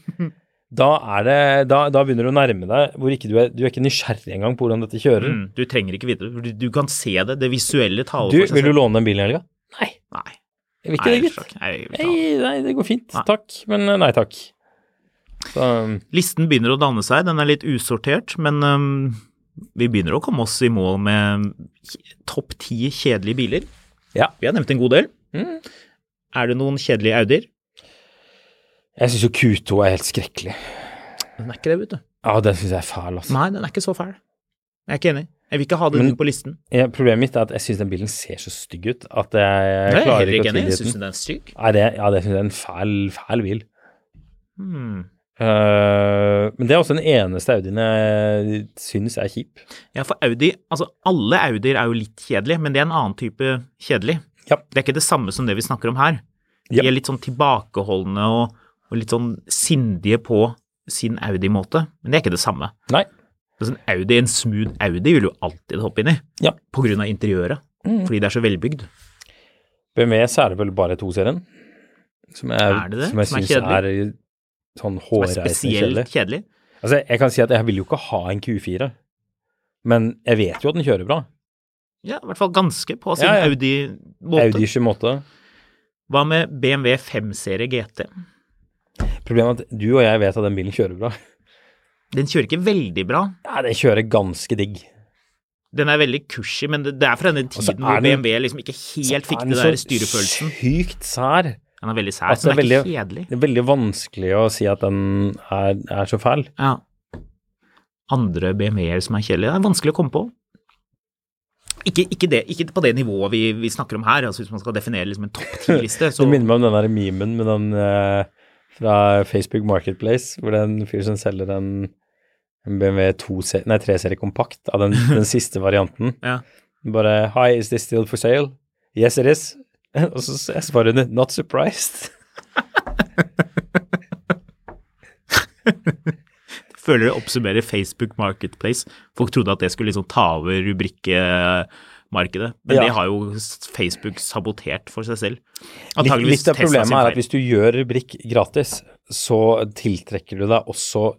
Speaker 1: Da, er det, da, da begynner du å nærme deg hvor ikke du, er, du er ikke nysgjerrig engang på hvordan dette kjører.
Speaker 2: Mm, du trenger ikke vite det. Du, du kan se det. Det visuelle taler
Speaker 1: Du,
Speaker 2: for seg
Speaker 1: vil du låne den bilen i helga? Nei,
Speaker 2: Nei.
Speaker 1: jeg vil
Speaker 2: Nei,
Speaker 1: ikke det,
Speaker 2: takk.
Speaker 1: gitt.
Speaker 2: Nei, jeg vil ikke
Speaker 1: Nei,
Speaker 2: ha det.
Speaker 1: nei, det går fint.
Speaker 2: Nei.
Speaker 1: Takk, men eh, nei takk. Så, um,
Speaker 2: Listen begynner å danne seg. Den er litt usortert, men øhm, vi begynner å komme oss i mål med topp ti kjedelige biler.
Speaker 1: Ja.
Speaker 2: Vi har nevnt en god del. Er det noen kjedelige Audier?
Speaker 1: jeg syns jo Q2 er helt skrekkelig.
Speaker 2: Den er ikke det, vet du.
Speaker 1: Ja, den syns jeg er fæl, altså.
Speaker 2: Nei, den er ikke så fæl. Jeg er ikke enig. Jeg vil ikke ha den
Speaker 1: Men-
Speaker 2: inn på listen.
Speaker 1: Ja, problemet mitt er at jeg syns den bilen ser så stygg ut at jeg,
Speaker 2: Jeg er
Speaker 1: klarer
Speaker 2: heller
Speaker 1: ikke å
Speaker 2: ikke enig.
Speaker 1: tilgi
Speaker 2: Jeg syns
Speaker 1: den.
Speaker 2: den er stygg.
Speaker 1: Nei, det, ja, det syns jeg er en fæl, fæl bil.
Speaker 2: Hmm.
Speaker 1: Eh, men det er også den eneste Audien jeg syns er kjip.
Speaker 2: Ja, for Audi Altså, alle Audier er jo litt kjedelige, men det er en annen type kjedelig.
Speaker 1: Ja.
Speaker 2: Det er ikke det samme som det vi snakker om her. De
Speaker 1: Ja.
Speaker 2: er litt sånn tilbakeholdne og, og litt sånn sindige på sin Audi-måte, men det er ikke det samme.
Speaker 1: Nei.
Speaker 2: Altså, en Audi, en smooth Audi vil du alltid hoppe inn i,
Speaker 1: Ja. Mm.
Speaker 2: på grunn av interiøret, fordi det er så velbygd.
Speaker 1: BMW så er det vel bare to-serien. Som jeg,
Speaker 2: Er det det?
Speaker 1: Som jeg
Speaker 2: Som er
Speaker 1: syns er, sånn
Speaker 2: Det er
Speaker 1: hårreisende
Speaker 2: spesielt
Speaker 1: kjedelig.
Speaker 2: kjedelig.
Speaker 1: Altså, jeg kan si at jeg vil jo ikke ha en Q4, men jeg vet jo at den kjører bra.
Speaker 2: Ja, i hvert fall ganske på sin
Speaker 1: Ja, ja.
Speaker 2: Audi-måte.
Speaker 1: Audi 28.
Speaker 2: Hva med BMW 5-serie GT?
Speaker 1: Problemet er at du og jeg vet at den bilen kjører bra.
Speaker 2: Den kjører ikke veldig bra.
Speaker 1: Ja, den kjører ganske digg.
Speaker 2: Den er veldig cushy, men det det er fra den
Speaker 1: så
Speaker 2: tiden
Speaker 1: Altså, er
Speaker 2: hvor
Speaker 1: den-
Speaker 2: BMW liksom ikke helt fikk
Speaker 1: Er den
Speaker 2: det der
Speaker 1: så
Speaker 2: styrefølelsen.
Speaker 1: Sykt sær.
Speaker 2: Den er veldig sær,
Speaker 1: Altså,
Speaker 2: så den er
Speaker 1: det er
Speaker 2: ikke kjedelig.
Speaker 1: Det er veldig vanskelig å si at den er, er så fæl.
Speaker 2: Ja. Andre BMW-er som er kjedelige, det er vanskelig å komme på. Ikke, ikke, det, ikke på det nivået vi, vi snakker om her, altså hvis man skal definere liksom en topp ti-liste, så
Speaker 1: Det minner meg om den der memen med den eh, fra Facebook Marketplace, hvor det er en fyr som selger en, en BMW 2-serie, nei 3-serie kompakt, av den, den siste varianten.
Speaker 2: Ja.
Speaker 1: Bare Hi, is this still for sale? Yes, it is. Og så s- jeg svarer hun Not surprised.
Speaker 2: føler det oppsummerer Facebook Marketplace. Folk trodde at det skulle liksom ta over rubrikkemarkedet, men
Speaker 1: Ja.
Speaker 2: det har jo Facebook sabotert for seg selv.
Speaker 1: Litt,
Speaker 2: Antageligvis
Speaker 1: litt av
Speaker 2: Tesla sin
Speaker 1: problemet er at
Speaker 2: feil.
Speaker 1: hvis du gjør rubrikk gratis, så tiltrekker du deg også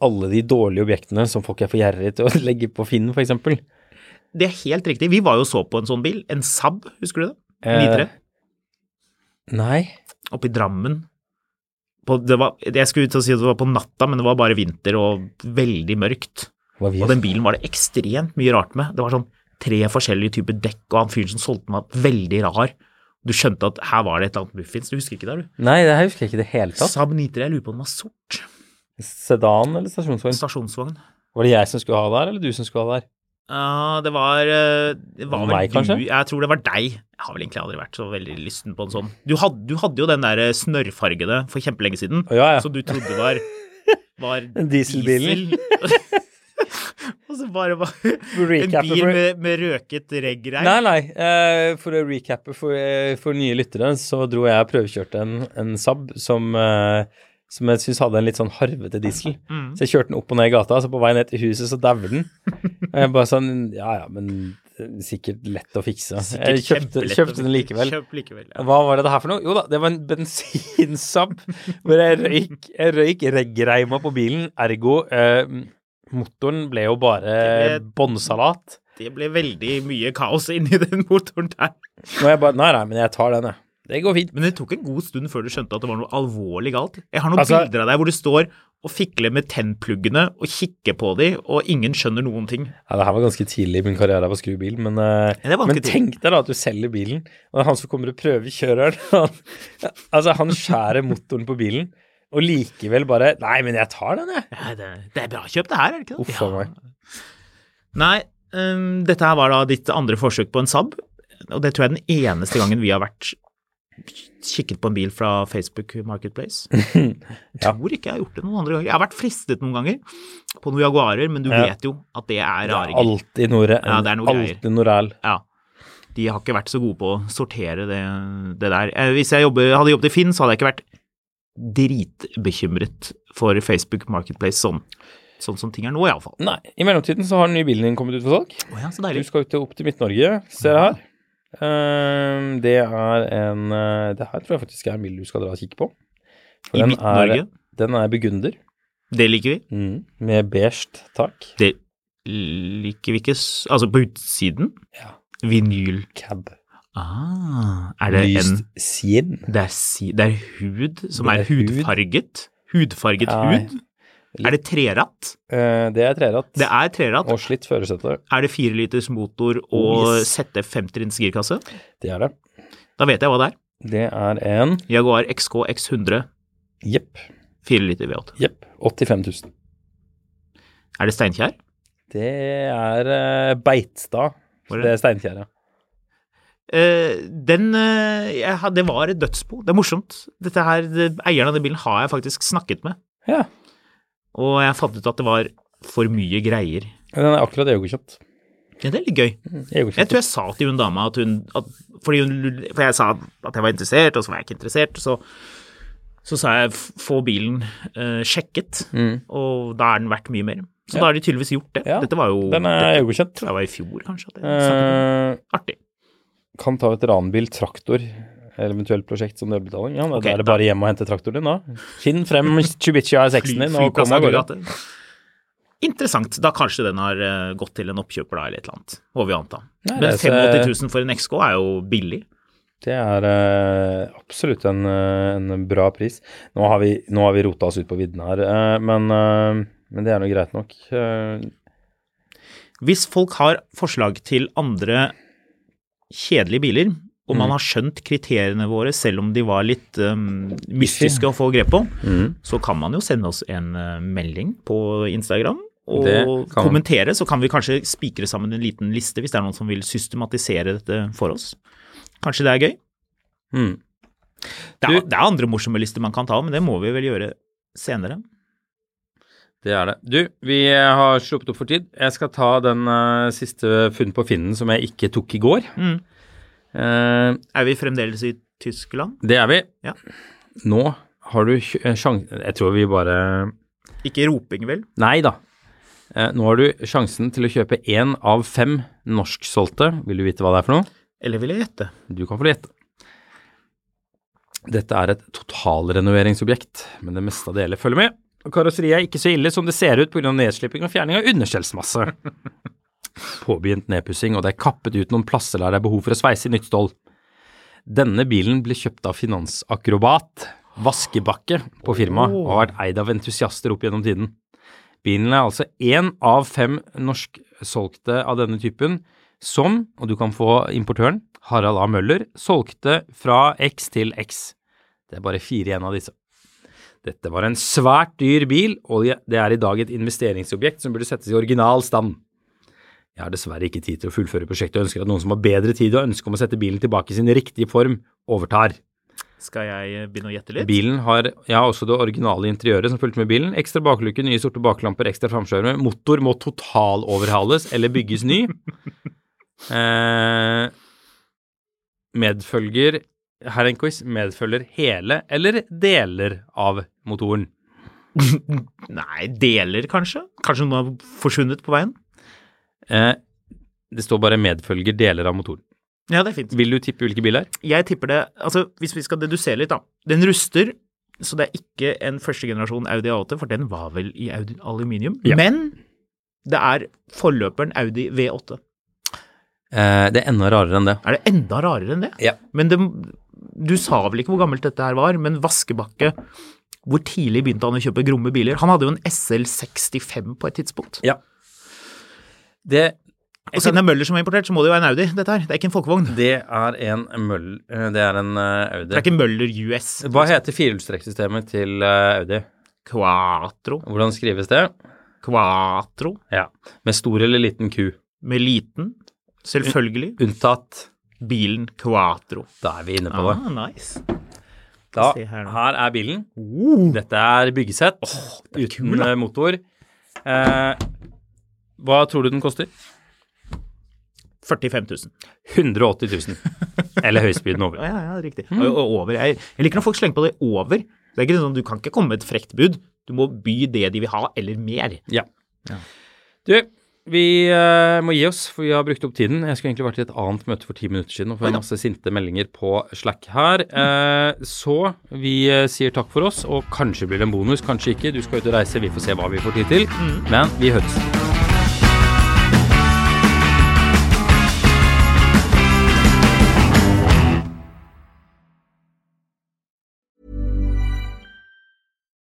Speaker 1: alle de dårlige objektene som folk er for gjerrige til å legge på Finn, for eksempel.
Speaker 2: Det er helt riktig. Vi var jo og så på en sånn bil, en Saab, husker du det?
Speaker 1: Eh,
Speaker 2: Videre.
Speaker 1: Nei.
Speaker 2: Oppe i Drammen. på, det var, Jeg skulle til å si at det var på natta, men det var bare vinter og veldig mørkt. Og den bilen var det ekstremt mye rart med. Det var sånn tre forskjellige typer dekk, og han fyren som solgte den var veldig rar. Du skjønte at her var det et eller annet muffins. Du husker ikke det, du?
Speaker 1: Nei, det her husker jeg ikke i det hele tatt.
Speaker 2: Saab 93, jeg lurer på om den var sort.
Speaker 1: Sedan eller stasjonsvogn?
Speaker 2: Stasjonsvogn.
Speaker 1: Var det jeg som skulle ha det her, eller du som skulle ha det her?
Speaker 2: Ja, det var, eh, det var vel
Speaker 1: Meg,
Speaker 2: du,
Speaker 1: kanskje?
Speaker 2: Jeg tror det var deg. Jeg har vel egentlig aldri vært så veldig lysten på en sånn. Du hadde, du hadde jo den der eh, snørrfargede for kjempelenge siden,
Speaker 1: Å, ja, ja.
Speaker 2: som du trodde var, var
Speaker 1: Dieselbilen.
Speaker 2: diesel. Og så bare var en
Speaker 1: recappe
Speaker 2: bil
Speaker 1: for-
Speaker 2: med, med røket regg-reim.
Speaker 1: Nei, nei. eh, for å recappe for, eh, for nye lyttere, så dro jeg og prøvekjørte en, en Saab som, eh, som jeg syns hadde en litt sånn harvete diesel.
Speaker 2: Mm.
Speaker 1: Så jeg kjørte den opp og ned i gata, så på vei ned til huset så dauer den. Og jeg bare sånn Ja ja, men det er sikkert lett å fikse. jeg kjøpte,
Speaker 2: Kjempelett å
Speaker 1: kjøpte den
Speaker 2: bruke.
Speaker 1: likevel.
Speaker 2: Kjøp likevel ja.
Speaker 1: Hva var det det her for noe? Jo da, det var en bensinsab hvor jeg røyk, jeg røyk reggreima på bilen, ergo eh, motoren ble jo bare
Speaker 2: Det ble-
Speaker 1: bånnsalat.
Speaker 2: Det ble veldig mye kaos inni den motoren der.
Speaker 1: Og jeg bare Nei, nei, men jeg tar den, jeg. Det går fint.
Speaker 2: Men det tok en god stund før du skjønte at det var noe alvorlig galt. Jeg har noen
Speaker 1: Altså-
Speaker 2: bilder av deg hvor du står og fikler med tennpluggene og kikker på dem, og ingen skjønner noen ting.
Speaker 1: Ja, det her var ganske tidlig i min karriere på å skru bil, men, eh,
Speaker 2: Ja, det var
Speaker 1: men
Speaker 2: ganske
Speaker 1: tenk deg da at du selger bilen, og han som kommer og prøver kjøreren, han, altså han skjærer motoren på bilen, og likevel bare Nei, men jeg tar den, jeg.
Speaker 2: Nei, det, det er bra kjøp, det her, er det ikke det?
Speaker 1: Uff a meg.
Speaker 2: Nei, øhm, dette her var da ditt andre forsøk på en Saab, og det tror jeg er den eneste gangen vi har vært kikket på en bil fra Facebook Marketplace. Jeg tror ikke jeg har gjort det noen andre ganger. Jeg har vært fristet noen ganger på noen Jaguarer, men du
Speaker 1: Ja.
Speaker 2: vet jo at det er
Speaker 1: Det er
Speaker 2: raringer.
Speaker 1: alltid noe,
Speaker 2: Ja, det er noe greier.
Speaker 1: alltid noe ræl.
Speaker 2: Ja. De har ikke vært så gode på å sortere det, det der. Eh, Hvis jeg jobber, hadde jobbet i Finn, så hadde jeg ikke vært dritbekymret for Facebook Marketplace sånn, sånn som ting er nå, iallfall.
Speaker 1: Nei, i mellomtiden så har den nye bilen din kommet ut for salg.
Speaker 2: Å ja, så
Speaker 1: Du
Speaker 2: deilig.
Speaker 1: skal ut til, opp til Midt-Norge, ser jeg her. Ehm, det er en eh, Det her tror jeg faktisk er en bil du skal dra og kikke på. For
Speaker 2: I
Speaker 1: den er-
Speaker 2: Midt-Norge.
Speaker 1: Den er burgunder, Mm.
Speaker 2: Det liker vi.
Speaker 1: med beige tak.
Speaker 2: Det liker vi ikke s- Altså, på utsiden?
Speaker 1: Ja.
Speaker 2: Vinyl.
Speaker 1: Cab.
Speaker 2: Ah, er det
Speaker 1: Lyst
Speaker 2: en
Speaker 1: skinn.
Speaker 2: det er, si, det er hud som
Speaker 1: Det
Speaker 2: er,
Speaker 1: er hud.
Speaker 2: hudfarget? Hudfarget
Speaker 1: Nei.
Speaker 2: hud? Er det treratt?
Speaker 1: Eh, det er treratt.
Speaker 2: Det er treratt.
Speaker 1: Og slitt førersete.
Speaker 2: Er det fireliters motor og
Speaker 1: Yes.
Speaker 2: ZF 50-trinns girkasse?
Speaker 1: Det er det.
Speaker 2: Da vet jeg hva det er.
Speaker 1: Det er en
Speaker 2: Jaguar XK X100,
Speaker 1: Jepp.
Speaker 2: 4 liter V8.
Speaker 1: Jepp. 85 000.
Speaker 2: Er det Steinkjer?
Speaker 1: Det er eh, Beitstad.
Speaker 2: Hvor er
Speaker 1: Det er Steinkjer, ja.
Speaker 2: Eh, den eh, jeg, had- Det var et dødsbo. Det er morsomt. Dette her, det, Eieren av den bilen har jeg faktisk snakket med,
Speaker 1: Ja.
Speaker 2: og jeg fant ut at det var for mye greier.
Speaker 1: Den er akkurat egokjøpt.
Speaker 2: Ja, det er litt gøy. Jeg
Speaker 1: Egokjøpt.
Speaker 2: tror jeg sa til hun dama at hun at, fordi hun, For jeg sa at jeg var interessert, og så var jeg ikke interessert. Så, så sa jeg f- få bilen eh, sjekket, og da er den verdt mye mer. Så da har de tydeligvis gjort det.
Speaker 1: Mm. Ja,
Speaker 2: Dette var jo
Speaker 1: Den er
Speaker 2: dette,
Speaker 1: egokjent.
Speaker 2: tror jeg var i fjor, kanskje. At jeg snakket med den.
Speaker 1: Eh,
Speaker 2: Artig.
Speaker 1: kan ta veteranbil, traktor, eller eventuelt prosjekt som delbetaling. Ja, da
Speaker 2: Ok,
Speaker 1: er det bare hjem og hente traktoren din, da. Finn frem Chubicha
Speaker 2: Fly-
Speaker 1: R6-en din og
Speaker 2: flyplass
Speaker 1: kom av gårde.
Speaker 2: Aggregate. Interessant. Da kanskje den har eh, gått til en oppkjøper da, eller et eller annet, må vi anta.
Speaker 1: Nei,
Speaker 2: Men
Speaker 1: det er-
Speaker 2: 85 000 for en XK er jo billig.
Speaker 1: Det er eh, absolutt en, eh, en bra pris. Nå har, vi, nå har vi rota oss ut på vidden her, eh, men, eh, men det er nå greit nok. Eh,
Speaker 2: Hvis folk har forslag til andre kjedelige biler, og
Speaker 1: Mm.
Speaker 2: man har skjønt kriteriene våre, selv om de var litt um, mystiske å få grep på,
Speaker 1: Mm.
Speaker 2: så kan man jo sende oss en eh, melding på Instagram. Og
Speaker 1: Det kan man.
Speaker 2: kommentere, så kan vi kanskje spikre sammen en liten liste hvis det er noen som vil systematisere dette for oss. Kanskje det er gøy?
Speaker 1: Mm.
Speaker 2: Det er,
Speaker 1: Du-
Speaker 2: det er andre morsomme lister man kan ta, men det må vi vel gjøre senere.
Speaker 1: Det er det. Du, vi eh, har sluppet opp for tid. Jeg skal ta den eh, siste funn på finnen som jeg ikke tok i går.
Speaker 2: Mm.
Speaker 1: Eh,
Speaker 2: Er vi fremdeles i Tyskland?
Speaker 1: det er vi.
Speaker 2: Ja.
Speaker 1: Nå har du sjansen Jeg tror vi bare
Speaker 2: Ikke roping, vel?
Speaker 1: Nei da. Eh, nå har du sjansen til å kjøpe én av fem norsksolgte. Vil du vite hva det er for noe?
Speaker 2: Eller vil jeg gjette?
Speaker 1: Du kan få gjette. Dette er et totalrenoveringsobjekt, men det meste av det hele følger med. Og Karosseriet er ikke så ille som det ser ut pga. nedslipping og fjerning av underskjellsmasse. Påbegynt nedpussing, og det er kappet ut noen plasser der det er behov for å sveise i nytt stål. Denne bilen ble kjøpt av finansakrobat vaskebakke på firmaet og har vært eid av entusiaster opp gjennom tiden. Bilen er altså én av fem norsksolgte av denne typen, som, og du kan få importøren, Harald A. Møller, solgte fra X til X. Det er bare fire igjen av disse. Dette var en svært dyr bil, og det er i dag et investeringsobjekt som burde settes i original stand. Jeg har dessverre ikke tid til å fullføre prosjektet og ønsker at noen som har bedre tid og ønske om å sette bilen tilbake i sin riktige form, overtar.
Speaker 2: Skal jeg begynne å gjette litt?
Speaker 1: Bilen har ja, også det originale interiøret som fulgte med bilen. Ekstra baklukke, nye sorte baklamper, ekstra framskjermer. Motor må totaloverhales eller bygges ny. eh, medfølger Her er en quiz. Medfølger hele eller deler av motoren.
Speaker 2: Nei, deler kanskje? Kanskje noen har forsvunnet på veien?
Speaker 1: Eh, det står bare 'medfølger deler av motoren'.
Speaker 2: Ja, det er fint.
Speaker 1: Vil du tippe hvilke biler?
Speaker 2: Jeg tipper det Altså, hvis vi skal dedusere litt, da. Den ruster, så det er ikke en første generasjon Audi A8, for den var vel i Audi aluminium.
Speaker 1: Ja.
Speaker 2: Men det er forløperen Audi V8.
Speaker 1: Eh, det er enda rarere enn det.
Speaker 2: Er det enda rarere enn det?
Speaker 1: Ja.
Speaker 2: Men det, du sa vel ikke hvor gammelt dette her var, men Vaskebakke Hvor tidlig begynte han å kjøpe gromme biler? Han hadde jo en SL65 på et tidspunkt.
Speaker 1: ja. Det
Speaker 2: Og siden det er Møller som er importert, så må det jo være en Audi, dette her. Det er ikke en folkevogn.
Speaker 1: Det er en møll... eh, Det er en eh, Audi.
Speaker 2: Det er ikke Møller US.
Speaker 1: Hva heter firehjulstrekksystemet til eh, Audi?
Speaker 2: Quatro.
Speaker 1: Hvordan skrives det?
Speaker 2: Quatro.
Speaker 1: Ja. Med stor eller liten Q?
Speaker 2: Med liten. Selvfølgelig.
Speaker 1: Unntatt.
Speaker 2: Bilen Quatro.
Speaker 1: Da er vi inne på det.
Speaker 2: Ah, nice.
Speaker 1: Da,
Speaker 2: se
Speaker 1: her,
Speaker 2: her nå. Oh!
Speaker 1: er bilen. Dette er byggesett uten eh, motor. Eh, hva tror du den koster?
Speaker 2: 45 000.
Speaker 1: 180 000. Eller høyspyden
Speaker 2: Ja,
Speaker 1: over.
Speaker 2: ja, ja, riktig. Og- Og over. Jeg, jeg liker når folk slenger på det over. Det er ikke sånn, Du kan ikke komme med et frekt bud. Du må by det de vil ha, eller mer.
Speaker 1: Ja. Du, vi eh, må gi oss, for vi har brukt opp tiden. Jeg skulle egentlig vært i et annet møte for ti minutter siden og får masse sinte meldinger på Slack her. Eh, så vi eh, sier takk for oss, og kanskje blir det en bonus, kanskje ikke. Du skal ut og reise, vi får se hva vi får tid til.
Speaker 5: Mm.
Speaker 1: Men vi høres.